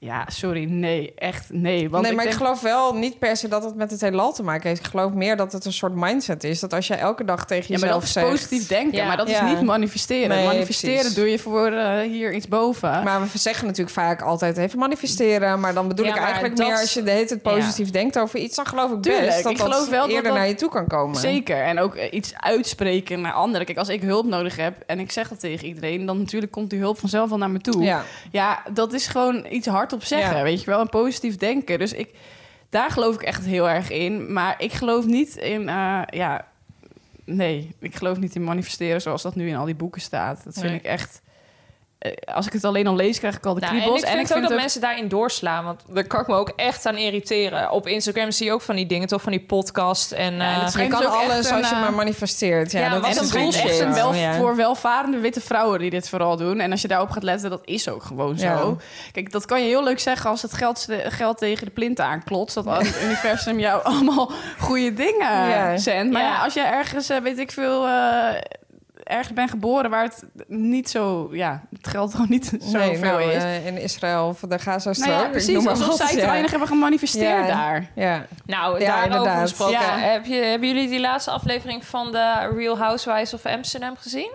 G: Ja, sorry, nee, echt nee. Want
F: nee, maar
G: ik
F: ik,
G: denk-
F: geloof wel niet per se dat het met het heelal te maken heeft. Ik geloof meer dat het een soort mindset is. Dat als jij elke dag tegen
G: Ja, maar dat
F: jezelf
G: is
F: zegt...
G: positief denken,
E: Ja.
G: maar dat
F: Ja.
G: is niet manifesteren.
F: Nee,
G: manifesteren
F: precies.
G: doe je voor eh, hier iets boven.
F: Maar we zeggen natuurlijk vaak altijd even manifesteren. Maar dan bedoel
E: Ja,
F: ik
E: maar
F: eigenlijk
E: dat-
F: meer als je de hele tijd positief denkt over iets. Dan geloof ik
G: Tuurlijk,
F: best dat
G: ik
F: dat
G: geloof wel dat
F: eerder
G: dat-
F: naar je toe kan komen.
G: Zeker. En ook eh, iets uitspreken naar anderen. Kijk, als ik hulp nodig heb en ik zeg dat tegen iedereen, dan natuurlijk komt die hulp vanzelf wel naar me toe.
F: Ja.
G: Ja, dat is gewoon iets hardop zeggen,
F: Ja.
G: weet je wel, en positief denken. Dus ik, daar geloof ik echt heel erg in. Maar ik geloof niet in, eh, ja, nee, ik geloof niet in manifesteren zoals dat nu in al die boeken staat. Dat vind
F: Nee.
G: ik echt eh, als ik het alleen al lees, krijg ik al de
E: Nou,
G: kriebels.
E: en ik vind ook dat mensen daarin doorslaan. Want daar kan ik me ook echt aan irriteren. Op Instagram zie je ook van die dingen, toch? Van die podcast. En,
G: Ja,
E: eh,
G: dat
F: Je
G: Brengt
F: kan
G: ook echt
F: alles
G: een,
F: als je
G: eh,
F: maar manifesteert. Ja,
E: ja,
F: dat
E: maar
G: Wat
F: was
E: het
G: een
F: het
E: schijnt
G: bullshit.
F: bullshit.
G: Echt een wel,
F: Oh, Ja.
G: voor welvarende witte vrouwen die dit vooral doen. En als je daarop gaat letten, dat is ook gewoon
F: Ja.
G: zo. Kijk, dat kan je heel leuk zeggen als het geld, geld tegen de plinten aanklotst. Dat het universum jou allemaal goede dingen
F: Ja.
G: zendt. Maar ja.
E: Ja.
G: als je ergens, eh, weet ik veel... eh, ergens bent geboren waar het niet zo... Ja, het geld gewoon niet zo
F: Nee,
G: veel
F: nou,
G: is.
F: eh, in Israël of de Gaza-strook.
G: nou ja,
F: ik
G: precies.
F: noem maar
G: Alsof
F: wat,
G: zij te
F: ja.
G: weinig hebben
F: Ja.
G: gemanifesteerd daar.
F: Ja.
E: Nou,
F: Ja,
E: daarover
F: inderdaad.
E: gesproken.
G: Ja.
E: Heb je, hebben jullie die laatste aflevering van de Real Housewives of Amsterdam gezien?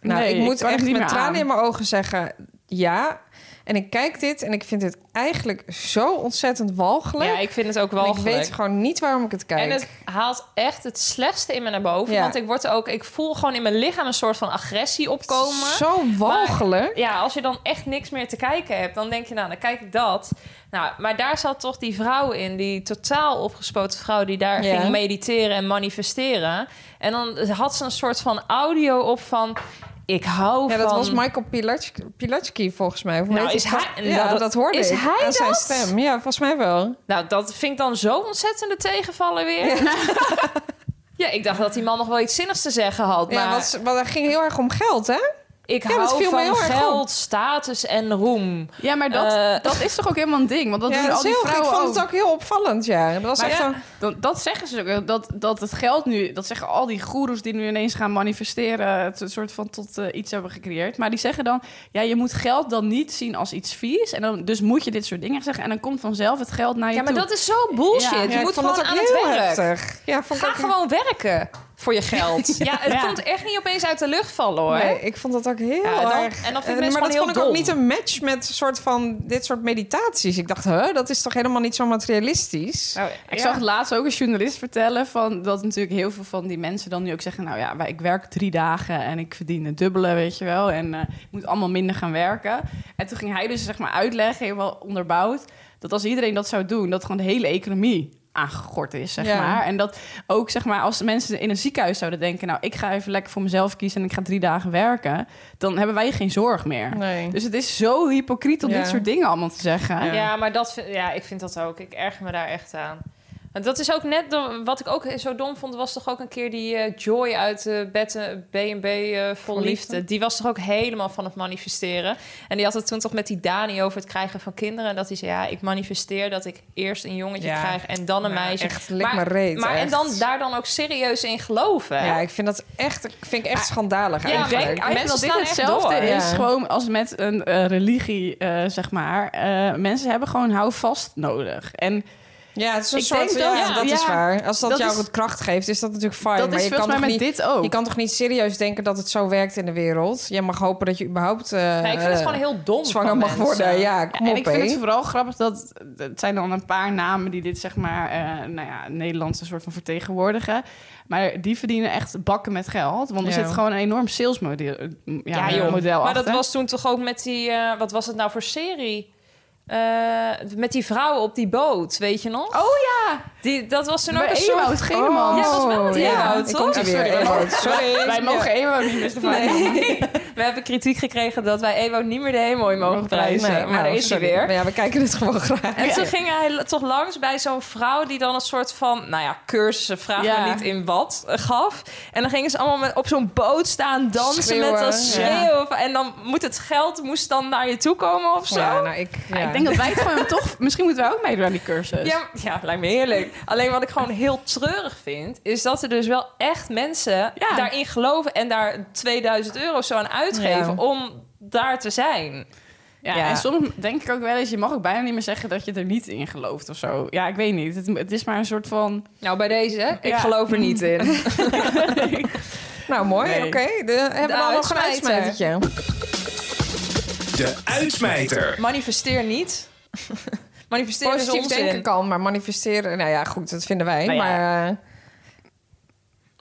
F: Nou,
G: Nee,
F: ik moet
G: kan ik
F: echt
G: niet
F: met
G: meer
F: tranen
G: aan.
F: in mijn ogen zeggen ja. En ik kijk dit en ik vind het eigenlijk zo ontzettend walgelijk.
E: Ja, ik vind het ook
F: En
E: wel
F: ik weet gewoon niet waarom ik het kijk.
E: En het haalt echt het slechtste in me naar boven.
F: Ja.
E: Want ik word ook, ik voel gewoon in mijn lichaam een soort van agressie opkomen.
F: Zo walgelijk.
E: Ja, als je dan echt niks meer te kijken hebt, dan denk je, nou, dan kijk ik dat. Nou, maar daar zat toch die vrouw in, die totaal opgespoten vrouw, die daar
F: Ja.
E: ging mediteren en manifesteren. En dan had ze een soort van audio op van, ik hou
F: Ja,
E: van.
F: dat was Michael Pilatsch- Pilatschki volgens mij. Of hoe
E: Nou,
F: heet
E: is
F: die
E: hij-
F: gast?
E: nou,
F: Ja, dat,
E: dat-
F: hoorde
E: is
F: ik
E: hij
F: aan zijn
E: dat?
F: stem. Ja, volgens mij wel.
E: Nou, dat vind ik dan zo ontzettende tegenvallen weer. Ja. ik dacht dat die man nog wel iets zinnigs te zeggen had. Maar
F: Ja, want, want dat ging heel erg om geld, hè?
E: ik
F: ja, dat
E: hou
F: viel me
E: van
F: heel erg op.
E: geld, status en roem.
G: Ja, maar dat,
E: Eh.
G: dat is toch ook helemaal een ding? Want dat
F: ja,
G: doen
F: dat is
G: al die
F: heel, ik
G: vrouwen
F: vond
G: ook.
F: het ook heel opvallend, ja. Dat was
G: Maar
F: echt
G: ja,
F: zo'n-
G: Dat, dat zeggen ze ook. eh, Dat, dat het geld nu, dat zeggen al die goeroes die nu ineens gaan manifesteren, het een soort van tot eh, iets hebben gecreëerd. Maar die zeggen dan, ja, je moet geld dan niet zien als iets vies. En dan, dus moet je dit soort dingen zeggen. En dan komt vanzelf het geld naar je
E: Ja, maar
G: toe.
E: dat is zo bullshit.
G: Ja,
E: je
F: ja, ik
E: moet
F: vond
E: gewoon
F: dat ook
E: aan het
F: heel
E: werk.
F: heftig. Ja, vond ik
E: Ga
F: ook-
E: gewoon werken voor je geld. ja, het
G: Ja.
E: komt echt niet opeens uit de lucht vallen hoor.
F: Nee, ik vond dat ook heel
E: Ja, dan-
F: erg.
E: en dan vind ik mensen
F: Eh, maar
E: gewoon
F: dat
E: heel
F: vond ik ook
E: dom.
F: niet een match met soort van dit soort meditaties. Ik dacht, huh, dat is toch helemaal niet zo materialistisch?
E: Nou,
G: Ik
E: ja.
G: zag laatst ook een journalist vertellen van dat natuurlijk heel veel van die mensen dan nu ook zeggen: Nou ja, wij- ik werk drie dagen en ik verdien het dubbele, weet je wel. En eh, ik moet allemaal minder gaan werken. En toen ging hij dus zeg maar uitleggen, helemaal onderbouwd, dat als iedereen dat zou doen, dat gewoon de hele economie aangegord is, zeg
F: Ja.
G: maar. En dat ook zeg maar als mensen in een ziekenhuis zouden denken: Nou, ik ga even lekker voor mezelf kiezen en ik ga drie dagen werken, dan hebben wij geen zorg meer.
F: Nee.
G: Dus het is zo hypocriet om
F: Ja.
G: dit soort dingen allemaal te zeggen.
E: Ja, maar dat, vind- ja, ik vind dat ook. Ik erger me daar echt aan. Want dat is ook net de- wat ik ook zo dom vond. Was toch ook een keer die eh, Joy uit eh, Bed- eh, B&B eh, vol liefde. Die was toch ook helemaal van het manifesteren. En die had het toen toch met die Dani over het krijgen van kinderen. En dat hij zei: Ja, ik manifesteer dat ik eerst een jongetje
F: Ja.
E: krijg en dan een
F: Nou,
E: meisje.
F: echt, lik maar reet,
E: Maar en
F: echt.
E: dan daar dan ook serieus in geloven.
F: eh, Ja, ik vind dat echt, ik vind ik echt schandalig
E: Ah, Ja,
F: eigenlijk.
E: denk-
F: Ja,
G: Mensen dat
E: Mensen
G: dit
E: slaan echt
G: hetzelfde
E: door.
G: is
F: Ja.
G: gewoon als met een eh, religie, eh, zeg maar. Eh, mensen hebben gewoon houvast nodig. En
F: het is een
G: Ik
F: soort,
G: denk
F: ja,
G: dat-
F: dat,
G: ja,
F: is
G: ja.
F: waar. Als dat,
G: Dat
F: jou
G: is-
F: het kracht geeft, is dat natuurlijk fijn.
G: dat
F: maar
G: is
F: je
G: volgens
F: kan
G: mij
F: toch
G: met
F: niet...
G: dit ook.
F: Je kan toch niet serieus denken dat het zo werkt in de wereld? Je mag hopen dat je überhaupt eh,
E: Nee, ik vind het
F: eh,
E: gewoon heel dom.
F: zwanger
E: van
F: mag
E: mensen.
F: worden. Ja, kom
G: en
F: op,
G: ik
F: hé.
G: vind het vooral grappig dat het zijn dan een paar namen die dit zeg maar, eh nou ja, Nederlandse soort van vertegenwoordigen. Maar die verdienen echt bakken met geld, want er
F: Ja.
G: zit gewoon een enorm salesmodel eh, ja,
E: Ja, joh.
G: model
E: maar
G: achter.
E: dat was toen toch ook met die... eh, wat was het nou voor serie? Eh, met die vrouw op die boot, weet je nog?
G: Oh ja,
E: Die, dat was toen ook
G: bij
E: een soort...
G: Ewout Geneman.
E: Ja, volgens mij met die
F: ja.
E: Ewout,
F: Ik
E: toch?
F: komt hij
E: Ja,
F: weer,
E: sorry,
F: Ewout. Sorry.
G: Wij mogen Ewout niet meer
E: Nee. We hebben kritiek gekregen dat wij Ewout niet meer de hemooi mogen prijzen.
F: Nee,
E: maar
F: nou,
E: daar is hij
F: sorry.
E: weer.
F: Maar ja, we kijken het gewoon graag.
E: En toen ging hij l- toch langs bij zo'n vrouw die dan een soort van, nou ja, cursussen, vraag
G: Ja.
E: me niet in wat, eh, gaf. En dan gingen ze allemaal met, op zo'n boot staan, dansen met
F: Schreeuwen,
E: dat
F: ja.
E: schreeuwen. En dan moet het geld moest dan naar je toe komen of zo.
F: Ja,
E: Ja,
F: nou, ik, ja.
G: Ik denk dat wij het gewoon toch, misschien moeten wij ook meedoen aan die
F: dus.
G: cursus.
E: ja, lijkt me heerlijk. Alleen wat ik gewoon heel treurig vind, is dat er dus wel echt mensen
G: Ja.
E: daarin geloven en daar 2000 euro zo aan uitgeven
F: Ja.
E: om daar te zijn.
G: Ja,
E: Ja.
G: en soms denk ik ook wel eens... je mag ook bijna niet meer zeggen dat je er niet in gelooft of zo. Ja, ik weet niet. Het, het is maar een soort van...
E: Nou, bij deze, ik
G: Ja.
E: geloof er niet in.
F: Nou, mooi.
G: Nee.
F: Oké, de- hebben we dan nog een
E: uitsmijter.
F: uitsmijtertje?
C: De uitsmijter.
E: Manifesteer niet. Manifesteer is
F: Positief
E: onzin.
F: denken kan, maar manifesteren... Nou ja, goed, dat vinden wij.
G: Nou ja.
F: Maar eh,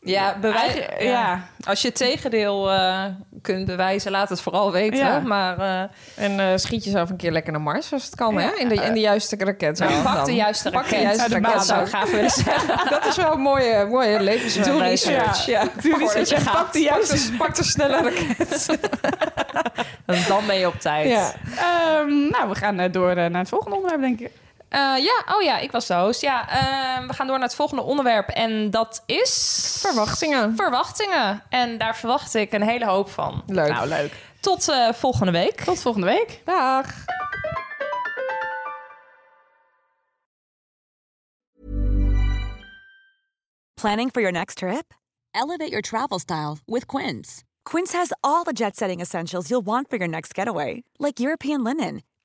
E: Ja, bewijs,
G: Eigen-
E: ja.
G: ja.
E: als je het tegendeel eh, kunt bewijzen, laat het vooral weten.
G: Ja.
E: Maar eh,
F: en eh, schiet jezelf een keer lekker naar Mars, als het kan, hè? In de, in de juiste raket.
E: nou,
F: wel
E: pak
F: dan.
E: de juiste
F: Pak de
E: raket.
F: juiste
E: Uit de
F: raket,
E: baan zou ik
F: zo.
E: graag willen zeggen.
F: Dat is wel een mooie, mooie levenswijze.
E: Doe research.
G: Ja.
E: Ja.
G: Doe
E: research.
G: research.
E: Pak
G: Pak de juiste...
F: Pak de snelle raket.
E: Want dan ben je op tijd.
F: Ja.
G: Ehm, nou, we gaan eh, door eh, naar het volgende onderwerp, denk ik.
E: Eh, ja, oh ja, ik was de host. Ja, eh, we gaan door naar het volgende onderwerp. En dat is...
F: Verwachtingen.
E: Verwachtingen. En daar verwacht ik een hele hoop van.
F: Leuk.
E: Nou, leuk. Tot eh, volgende week.
G: Tot volgende week.
F: Dag.
H: Planning for your next trip? Elevate your travel style with Quince. Quince has all the jet setting essentials you'll want for your next getaway, like European linen,